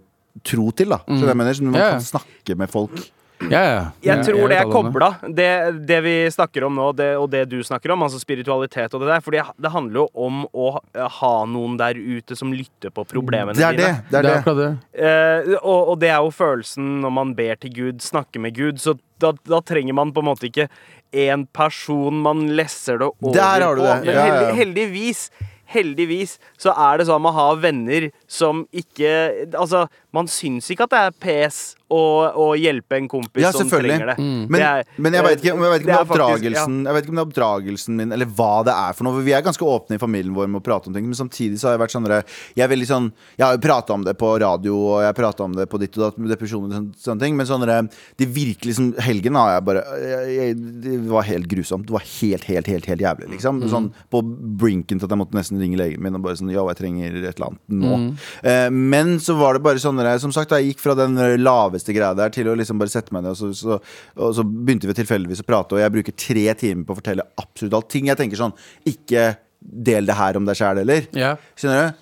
Speaker 2: tro til, da. Så det mener jeg, sånn at man
Speaker 3: Ja, ja.
Speaker 2: kan snakke med folk.
Speaker 3: Ja, ja.
Speaker 4: Jeg
Speaker 3: Ja, vet
Speaker 4: tror det er
Speaker 3: alle om det.
Speaker 4: kobla, det, det vi snakker om nå, det, og det du snakker om, altså spiritualitet og det der. For det handler jo om å ha- ha noen der ute som lytter på problemene
Speaker 2: Det er det.
Speaker 4: dine.
Speaker 2: det, er
Speaker 3: Det er
Speaker 2: det.
Speaker 3: akkurat det.
Speaker 4: Eh, og, og det er jo følelsen når man ber til Gud, snakker med Gud. Så da, da trenger man på en måte ikke én person man lesser det over
Speaker 2: Der har du
Speaker 4: på.
Speaker 2: det.
Speaker 4: Men
Speaker 2: Ja, ja, ja.
Speaker 4: heldig, heldigvis, heldigvis så er det sånn at man har venner som ikke Altså, man syns ikke at det er pes å, å hjelpe en kompis
Speaker 2: Ja,
Speaker 4: som
Speaker 2: selvfølgelig.
Speaker 4: trenger det.
Speaker 2: Men,
Speaker 4: det er- eh,
Speaker 2: men jeg veit ikke, om- jeg vet ikke om det
Speaker 4: det er
Speaker 2: er
Speaker 4: faktisk- ja.
Speaker 2: oppdragelsen Jeg vet ikke om det er oppdragelsen min, eller hva det er for noe. for Vi er ganske åpne i familien vår med å prate om ting, men samtidig så har jeg vært sånn der- Jeg er veldig sånn Jeg har jo prata om det på radio, og jeg prata om det på ditt og datt, med depresjoner og sånne, sånne ting, men sånn der, de virkelig som Helgen har jeg bare jeg, jeg, Det var helt grusomt. Det var helt, helt, helt helt jævlig, liksom. Sånn på brinken til at jeg måtte nesten ringe legen min og bare sånn Ja, jeg trenger et eller annet nå. Eh, men så var det bare sånn der, Som sagt, jeg gikk fra den laveste greia der til å liksom bare sette meg ned, og så, så, og så begynte vi tilfeldigvis å prate, og jeg bruker tre timer på å fortelle absolutt alt. Ting jeg tenker sånn Ikke del det her om deg sjæl, eller?
Speaker 3: Ja.
Speaker 2: Skjønner du?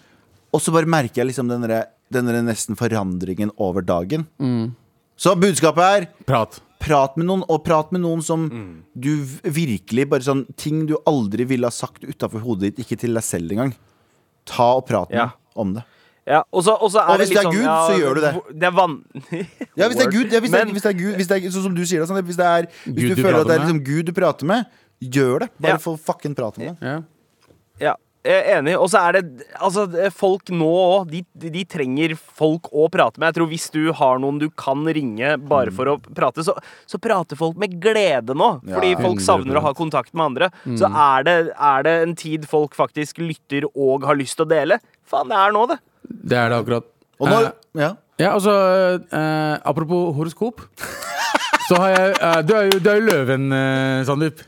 Speaker 2: Og så bare merker jeg liksom den derre den derre nesten forandringen over dagen. Så budskapet er
Speaker 3: Prat.
Speaker 2: Prat med noen, og prat med noen som
Speaker 3: Mm.
Speaker 2: du v- virkelig bare sånn Ting du aldri ville ha sagt utafor hodet ditt, ikke til deg selv engang. Ta og prat med
Speaker 4: Ja.
Speaker 2: om det.
Speaker 4: Ja, og, så, og, så er
Speaker 2: Og
Speaker 4: det
Speaker 2: hvis
Speaker 4: litt
Speaker 2: det er
Speaker 4: sånn,
Speaker 2: Gud,
Speaker 4: ja,
Speaker 2: så gjør du det.
Speaker 4: hvor- Det er van...
Speaker 2: Ja, hvis det er Gud, ja, hvis det er,
Speaker 4: Men-
Speaker 2: hvis det er Gud hvis det er, Sånn som du sier det, sånn, hvis det er Hvis du
Speaker 3: Gud du
Speaker 2: føler at det er
Speaker 3: prater
Speaker 2: liksom
Speaker 3: med.
Speaker 2: Gud du prater med, gjør det.
Speaker 4: Ja.
Speaker 2: Bare få fucking prate med det.
Speaker 3: Ja.
Speaker 4: Ja, jeg er enig. Og så er det altså, folk nå òg. De, de- de trenger folk å prate med. Jeg tror Hvis du har noen du kan ringe bare for å prate, så, så prater folk med glede nå.
Speaker 2: Mm. Ja, Mm.
Speaker 4: Fordi folk
Speaker 3: 100%.
Speaker 4: savner å ha kontakt med andre. Så er det, er det en tid folk faktisk lytter og har lyst til å dele. Faen, det er nå, det.
Speaker 3: Det er det akkurat.
Speaker 2: Og når,
Speaker 3: Eh,
Speaker 2: ja.
Speaker 3: Ja, altså eh, Apropos horoskop. Så har jeg eh, Du er jo, du er jo løven, eh, Sandeep.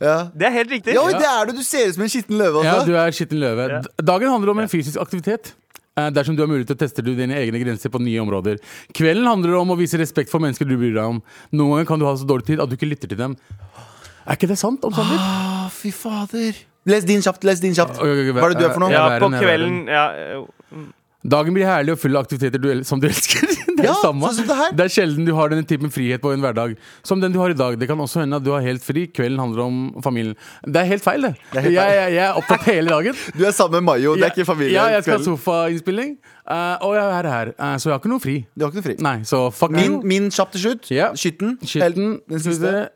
Speaker 2: Ja.
Speaker 4: Det er helt riktig.
Speaker 2: ja, oi, det er det! Du ser ut som en skitten løve.
Speaker 3: Ja,
Speaker 2: Altså.
Speaker 3: du er skitten løve.
Speaker 4: Ja.
Speaker 3: D- Dagen handler om en fysisk aktivitet. Eh, Dersom du har mulighet til å teste du dine egne grenser på nye områder. Kvelden handler om å vise respekt for mennesker du bryr deg om. Noen ganger kan du ha så dårlig tid at du ikke lytter til dem. Er ikke det sant om Sandeep?
Speaker 2: Å, fy fader. Les din kjapt. les din kjapt
Speaker 3: Ok, ok,
Speaker 2: Hva er det du er for noe?
Speaker 3: Ja,
Speaker 4: Ja,
Speaker 3: verre
Speaker 4: på
Speaker 3: enn jeg er
Speaker 4: kvelden ja,
Speaker 3: Dagen blir herlig og full av aktiviteter du el som du elsker. Det er,
Speaker 2: Ja,
Speaker 3: det samme.
Speaker 2: sånn som det her.
Speaker 3: det er sjelden du har denne typen frihet på en hverdag som den du har i dag. Det kan også hende at du har helt fri. Kvelden handler om familien. Det er helt feil, det. Jeg, jeg, jeg er opptatt hele dagen.
Speaker 2: Du er sammen med Mayo. Det er
Speaker 3: Ja,
Speaker 2: ikke familie.
Speaker 3: Ja, jeg skal ha
Speaker 2: kvelden.
Speaker 3: sofainnspilling, eh, og jeg er her. eh, så jeg har ikke noe fri.
Speaker 2: Du har ikke noe fri.
Speaker 3: Nei, så fuck
Speaker 2: Min,
Speaker 3: you.
Speaker 2: min kjapt til slutt.
Speaker 3: Ja.
Speaker 2: Skytten.
Speaker 3: Skitten.
Speaker 2: Den
Speaker 3: skal vi
Speaker 2: siste.
Speaker 3: se.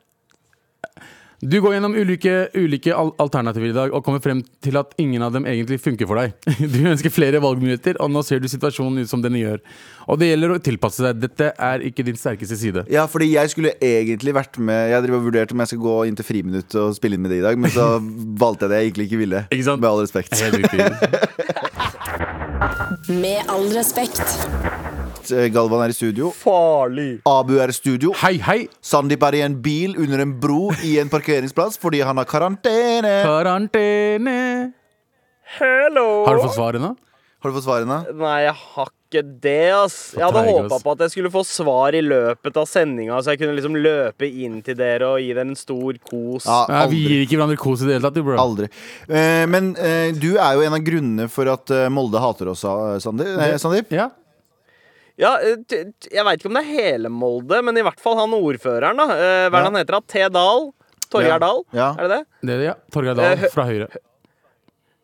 Speaker 3: Du går gjennom ulike, ulike al alternativer i dag og kommer frem til at ingen av dem egentlig funker for deg. Du ønsker flere valgmuligheter, og nå ser du situasjonen ut som den gjør. Og det gjelder å tilpasse deg. Dette er ikke din sterkeste side.
Speaker 2: Ja, fordi jeg skulle egentlig vært med Jeg driver og vurderte om jeg skal gå inn til friminutt og spille inn med deg i dag, men så valgte jeg det jeg egentlig ikke ville.
Speaker 3: Ikke sant?
Speaker 2: Med all respekt.
Speaker 3: Helt riktig.
Speaker 1: Med all respekt.
Speaker 2: Eh, Galvan er i studio.
Speaker 4: Farlig.
Speaker 2: Abu er i studio.
Speaker 3: Hei, hei!
Speaker 2: Sandeep er i en bil under en bro i en parkeringsplass fordi han har karantene.
Speaker 3: Karantene.
Speaker 4: Hello.
Speaker 3: Har du fått svaret nå?
Speaker 2: Har du fått svarene?
Speaker 4: Nei, jeg har ikke det, ass. Jeg hadde
Speaker 3: treig,
Speaker 4: håpa
Speaker 3: ass.
Speaker 4: på at jeg skulle få svar i løpet av sendinga, så jeg kunne liksom løpe inn til dere og gi dere en stor kos.
Speaker 2: Ja,
Speaker 3: Ja,
Speaker 2: aldri.
Speaker 3: vi gir ikke hverandre kos i det hele tatt, du, bro.
Speaker 2: Aldri. Eh, men eh, du er jo en av grunnene for at eh, Molde hater oss, eh, Sandi- eh, Sandeep.
Speaker 3: Ja.
Speaker 4: Ja, eh, t- t- jeg veit ikke om det er hele Molde, men i hvert fall han ordføreren, da. Eh, Hva er det han heter? da? T. Dahl?
Speaker 2: Ja.
Speaker 4: Torgeir Dahl?
Speaker 2: Ja.
Speaker 4: Er det det?
Speaker 3: Det, ja. Torgeir Dahl
Speaker 4: Eh,
Speaker 3: fra Høyre.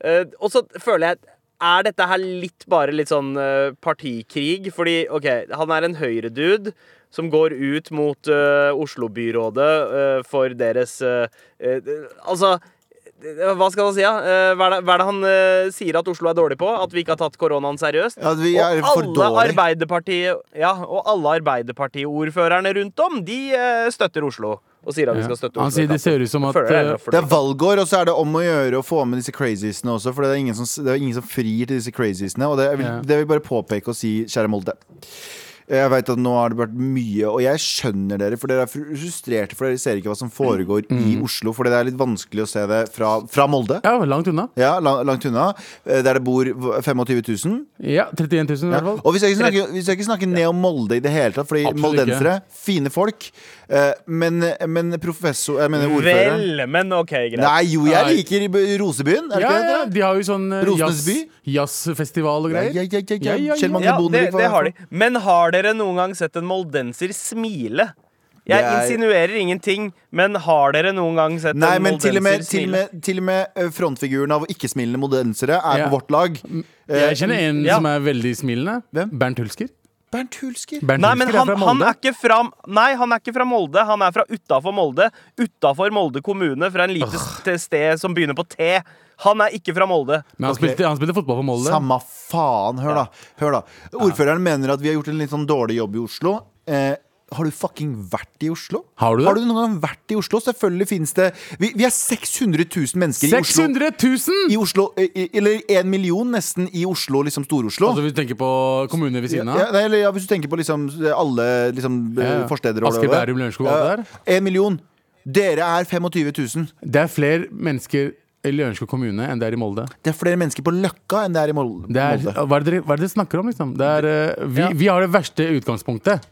Speaker 4: Eh, og så føler jeg Er dette her litt bare litt sånn eh, partikrig? Fordi, OK, han er en høyredude som går ut mot eh, Oslo-byrådet eh, for deres eh, eh, Altså eh, hva skal man si, da? Eh, Hva er det, hva er det han eh, sier at Oslo er dårlig på? At vi ikke har tatt koronaen seriøst?
Speaker 2: Ja, vi er
Speaker 4: og
Speaker 2: for
Speaker 4: alle
Speaker 2: dårlig.
Speaker 4: Arbeiderpartiet Ja, og alle Arbeiderpartiordførerne rundt om, de eh, støtter Oslo. Og sier at vi
Speaker 3: Ja.
Speaker 4: skal støtte Oslo.
Speaker 3: Han sier det ser ut som at
Speaker 4: Føler jeg er
Speaker 3: eh,
Speaker 4: for
Speaker 2: Det
Speaker 4: dårlig.
Speaker 2: er valgår, og så er det om å gjøre å få med disse craziesene også. For det er ingen som, det er ingen som frir til disse craziesene. Og det vil,
Speaker 3: Ja.
Speaker 2: det vil bare påpeke og si, kjære Molde. Jeg vet at nå har det vært mye, og jeg skjønner dere, for dere er fru- frustrerte. For dere ser ikke hva som foregår i Oslo, for det er litt vanskelig å se det fra, fra Molde.
Speaker 3: Ja, langt unna.
Speaker 2: Ja, la- langt unna. eh, Der det bor v- 25 000.
Speaker 3: Ja, 31 000 i
Speaker 2: Ja.
Speaker 3: hvert fall.
Speaker 2: Og vi skal, ikke snakke, vi skal ikke snakke ned om Molde i det hele tatt, fordi
Speaker 3: Absolutt
Speaker 2: moldensere, fine folk. eh, Men, men professor Jeg mener ordføreren.
Speaker 4: Vel, men OK, greit.
Speaker 2: Nei, jo, jeg
Speaker 3: Nei.
Speaker 2: liker i- Rosebyen. Er det
Speaker 3: Ja,
Speaker 2: ikke det?
Speaker 3: ja, de har jo sånn eh,
Speaker 2: Rosenes
Speaker 3: jazz-
Speaker 2: by?
Speaker 3: jazzfestival og
Speaker 2: Ja,
Speaker 3: greier.
Speaker 2: ja, ja, ja, ja.
Speaker 3: Ja, ja,
Speaker 2: Kjell
Speaker 3: ja.
Speaker 2: Magne
Speaker 4: Ja, det,
Speaker 2: Bondevik var
Speaker 4: det
Speaker 2: der
Speaker 4: har de.
Speaker 2: for.
Speaker 4: Men har dere noen gang sett en moldenser smile? Jeg
Speaker 2: Det er-
Speaker 4: insinuerer ingenting, men har dere noen gang sett
Speaker 2: Nei,
Speaker 4: en
Speaker 2: men til og med,
Speaker 4: moldenser
Speaker 2: til og
Speaker 4: smile?
Speaker 2: med, til og med eh, frontfiguren av ikke-smilende modensere er
Speaker 3: Ja. Mm.
Speaker 2: på vårt lag. Eh,
Speaker 3: Jeg kjenner en
Speaker 4: Ja.
Speaker 3: som er veldig smilende.
Speaker 2: Hvem?
Speaker 3: Bernt Hulsker.
Speaker 2: Bernt Hulsker.
Speaker 3: Bernt
Speaker 4: Nei, men
Speaker 3: Hulsker
Speaker 4: han,
Speaker 3: er fra
Speaker 4: han,
Speaker 3: Molde.
Speaker 4: er ikke fra, nei, han er ikke fra Molde. Han er fra utafor Molde. Utafor Molde kommune, fra en lite st- sted som begynner på T. Han er ikke fra Molde.
Speaker 3: Men han,
Speaker 2: Ok.
Speaker 3: spilte, han spilte fotball for Molde.
Speaker 2: Samme faen. Hør, da. Hør da. Ordføreren mener at vi har gjort en litt sånn dårlig jobb i Oslo. Eh, har du fucking vært i Oslo?
Speaker 3: Har du det?
Speaker 2: Har du noen gang vært i Oslo? Selvfølgelig finnes det Vi, vi er 600 000 mennesker i Oslo.
Speaker 3: 600 000!
Speaker 2: I Oslo eh, i- eller en million nesten i Oslo, liksom Stor-Oslo.
Speaker 3: Altså, hvis du tenker på kommunene ved siden av.
Speaker 2: Ja, nei, eller, ja, hvis du tenker på liksom, alle liksom,
Speaker 3: Ja, ja.
Speaker 2: forsteder og
Speaker 3: Asker,
Speaker 2: det der.
Speaker 3: Bærum, Lørenskog, alt det
Speaker 2: En million. Dere er 25 000.
Speaker 3: Det er flere mennesker i Lørenskog kommune enn det er i Molde.
Speaker 2: Det er flere mennesker på Løkka enn det er i Mol-
Speaker 3: Det er,
Speaker 2: Molde.
Speaker 3: hva, er det dere, hva er det dere snakker om, liksom? Det er, eh, vi,
Speaker 2: Ja.
Speaker 3: vi har det verste utgangspunktet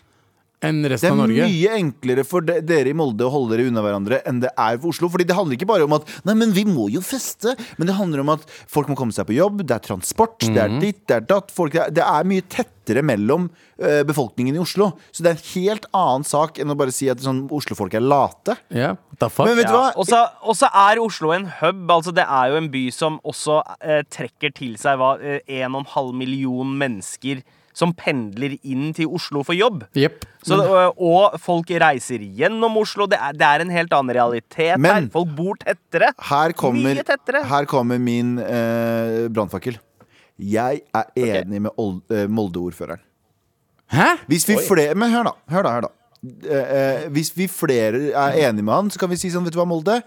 Speaker 3: enn
Speaker 2: Det er
Speaker 3: resten av Norge.
Speaker 2: mye enklere for de, dere i Molde å holde dere unna hverandre enn det er for Oslo. Fordi det handler ikke bare om at Nei, men vi må jo feste. Men det handler om at folk må komme seg på jobb, det er transport, det
Speaker 3: Mhm.
Speaker 2: er ditt, det er datt. Folk, det, er, det er mye tettere mellom eh, befolkningen i Oslo. Så det er en helt annen sak enn å bare si at sånn, Oslofolk er late.
Speaker 3: Ja, what the fuck?
Speaker 2: Men vet du hva?
Speaker 4: Ja. Og så- Og så er Oslo en hub. altså Det er jo en by som også eh, trekker til seg hva, eh, 1,5 million mennesker som pendler inn til Oslo for jobb.
Speaker 3: Jepp.
Speaker 4: Så, øh, og folk reiser gjennom Oslo. Det er, det er en helt annen realitet
Speaker 2: Men-
Speaker 4: her. Folk bor tettere.
Speaker 2: Her kommer,
Speaker 4: Mye tettere.
Speaker 2: her kommer min eh, brannfakkel. Jeg er enig med Ol- eh, Molde-ordføreren.
Speaker 3: Hæ?
Speaker 2: Hvis vi flere Men hør, da. Hør da, hør da. Eh, eh, hvis vi flere er enige med han, så kan vi si sånn, vet du hva, Molde?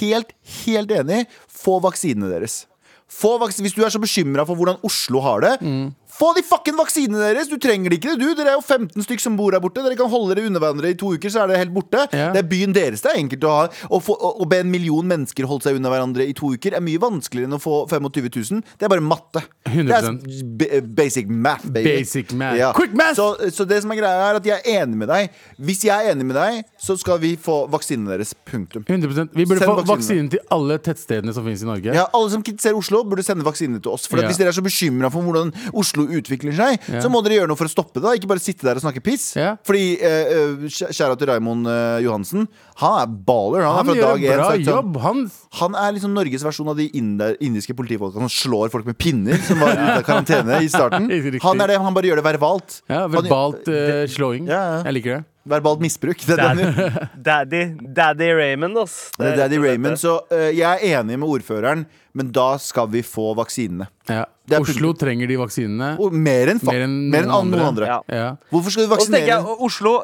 Speaker 2: Helt, helt enig. Få vaksinene deres. Få vaks hvis du er så bekymra for hvordan Oslo har det,
Speaker 3: Mm.
Speaker 2: få de fucking vaksinene deres! Du trenger det ikke, du. Dere er jo 15 stykk som bor her borte. Dere kan holde dere unna hverandre i to uker, så er det helt borte.
Speaker 3: Ja.
Speaker 2: Det er byen deres det er enkelt å ha. Å, få, å, å be en million mennesker holde seg unna hverandre i to uker er mye vanskeligere enn å få 25 000. Det er bare matte. Det er
Speaker 3: 100%.
Speaker 2: b- basic math, baby.
Speaker 3: Basic math. Quick math!
Speaker 2: Så så det som er greia er at jeg er enig med deg. Hvis jeg er enig med deg, så skal vi få vaksinene deres. Punktum.
Speaker 3: 100 Vi burde
Speaker 2: Send
Speaker 3: få
Speaker 2: vaksinene.
Speaker 3: vaksinen til alle tettstedene som finnes i Norge.
Speaker 2: Ja, alle som kritiserer Oslo, burde sende vaksinene til oss. For at
Speaker 3: Ja.
Speaker 2: Hvis dere er så bekymra for hvordan Oslo utvikler seg,
Speaker 3: Ja.
Speaker 2: så må dere gjøre noe for å stoppe det. da Ikke bare sitte der og snakke piss.
Speaker 3: Ja.
Speaker 2: Fordi eh, eh, kjæ- Kjære til Raymond eh, Johansen. Han er baller. Han,
Speaker 3: Han
Speaker 2: er fra
Speaker 3: gjør
Speaker 2: dag én.
Speaker 3: en bra
Speaker 2: sagt sånn,
Speaker 3: jobb. Han,
Speaker 2: Han er liksom Norges versjon av de inder, indiske politifolka som slår folk med pinner, som var ute av karantene i starten.
Speaker 3: Riktig.
Speaker 2: Han er det, han bare gjør det verbalt.
Speaker 3: ja,
Speaker 2: Han-
Speaker 3: verbalt eh, slåing.
Speaker 2: Ja, ja.
Speaker 3: Jeg liker det.
Speaker 2: verbalt misbruk. Det er den,
Speaker 4: Daddy, daddy Raymond, ass.
Speaker 2: Det er Daddy
Speaker 4: rett og slett
Speaker 2: Raymond,
Speaker 4: det.
Speaker 2: så eh, jeg er enig med ordføreren, men da skal vi få vaksinene.
Speaker 3: Ja.
Speaker 2: Det er
Speaker 3: Oslo trenger de vaksinene.
Speaker 2: Og mer enn fa-
Speaker 3: Mer enn
Speaker 2: mer enn
Speaker 3: noen
Speaker 2: an- noen
Speaker 3: andre.
Speaker 2: andre.
Speaker 4: Ja.
Speaker 3: Ja.
Speaker 2: Hvorfor skal du
Speaker 4: Og så tenker
Speaker 2: vaksinere?
Speaker 4: jeg, Oslo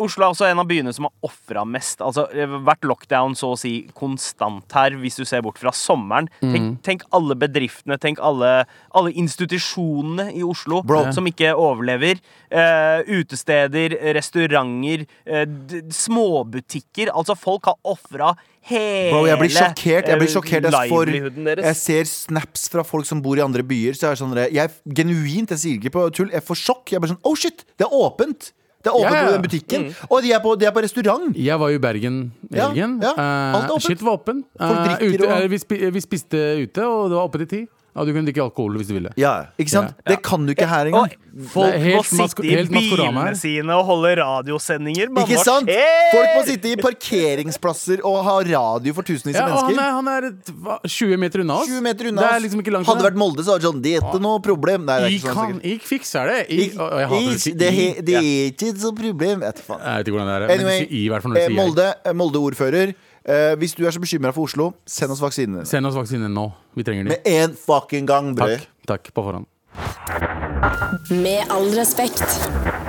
Speaker 4: Oslo er også en av byene som har ofra mest. Altså, det har vært lockdown så å si konstant her, hvis du ser bort fra sommeren. Tenk,
Speaker 2: Mm.
Speaker 4: tenk alle bedriftene, tenk alle, alle institusjonene i Oslo
Speaker 2: Bro.
Speaker 4: som ikke overlever. Eh, utesteder, restauranter, eh, d småbutikker. Altså, folk har ofra hele
Speaker 2: Bro, jeg blir sjokkert. Jeg blir
Speaker 4: eh,
Speaker 2: sjokkert jeg, får,
Speaker 4: livelihooden deres.
Speaker 2: jeg ser snaps fra folk som bor i andre byer. Så jeg er sånn, der- jeg, genuint, jeg sier ikke på tull, jeg får sjokk. Jeg er bare sånn, oh shit, det er åpent! Det er åpent
Speaker 3: Ja, ja.
Speaker 2: på den butikken.
Speaker 4: Mm.
Speaker 2: Og de er på, de er på restaurant!
Speaker 3: Jeg var jo i Bergen i
Speaker 2: Ja,
Speaker 3: helgen.
Speaker 2: ja.
Speaker 3: Eh,
Speaker 2: Alt er åpent.
Speaker 3: Shit var åpen.
Speaker 2: Folk
Speaker 3: Eh,
Speaker 2: drikker
Speaker 3: ute,
Speaker 2: og-
Speaker 3: eh, vi, spi, vi spiste ute, og det var oppe til ti. Og du kunne drikke alkohol hvis du ville.
Speaker 2: Ja, ikke sant? Det kan du ikke her engang.
Speaker 4: Og folk
Speaker 3: Det er helt
Speaker 4: må sitte
Speaker 3: masko-
Speaker 4: i
Speaker 3: helt Maskorama
Speaker 4: bilene
Speaker 3: her.
Speaker 4: sine og holde radiosendinger. Man
Speaker 2: Ikke
Speaker 4: må
Speaker 2: sant?
Speaker 4: skjer!
Speaker 2: Folk må sitte i parkeringsplasser og ha radio for tusenvis
Speaker 3: Ja,
Speaker 2: av
Speaker 3: og
Speaker 2: mennesker.
Speaker 3: han er, han er et, hva, 20 meter unna oss.
Speaker 2: 20 meter unna
Speaker 3: det
Speaker 2: oss.
Speaker 3: er liksom ikke langt
Speaker 2: Hadde det vært Molde, så hadde John Det er ikke noe problem. Nei, det er
Speaker 3: Jeg
Speaker 2: ikke
Speaker 3: kan
Speaker 2: sånn sikkert.
Speaker 3: ikke fikse det. I,
Speaker 2: Ik-
Speaker 3: og jeg hater å si
Speaker 2: is, det,
Speaker 3: i.
Speaker 2: he- det er ikke noe problem. Vet du faen.
Speaker 3: Jeg vet ikke hvordan det er, men
Speaker 2: Anyway,
Speaker 3: du sier i hvert fall når du
Speaker 2: eh,
Speaker 3: sier jeg.
Speaker 2: Molde, eh, Molde-ordfører. eh, hvis du er så bekymra for Oslo, send oss vaksinene.
Speaker 3: Send oss vaksinen nå. Vi trenger den.
Speaker 2: Med én fucking gang, brød.
Speaker 3: Takk. Takk på forhånd.
Speaker 1: Med all respekt.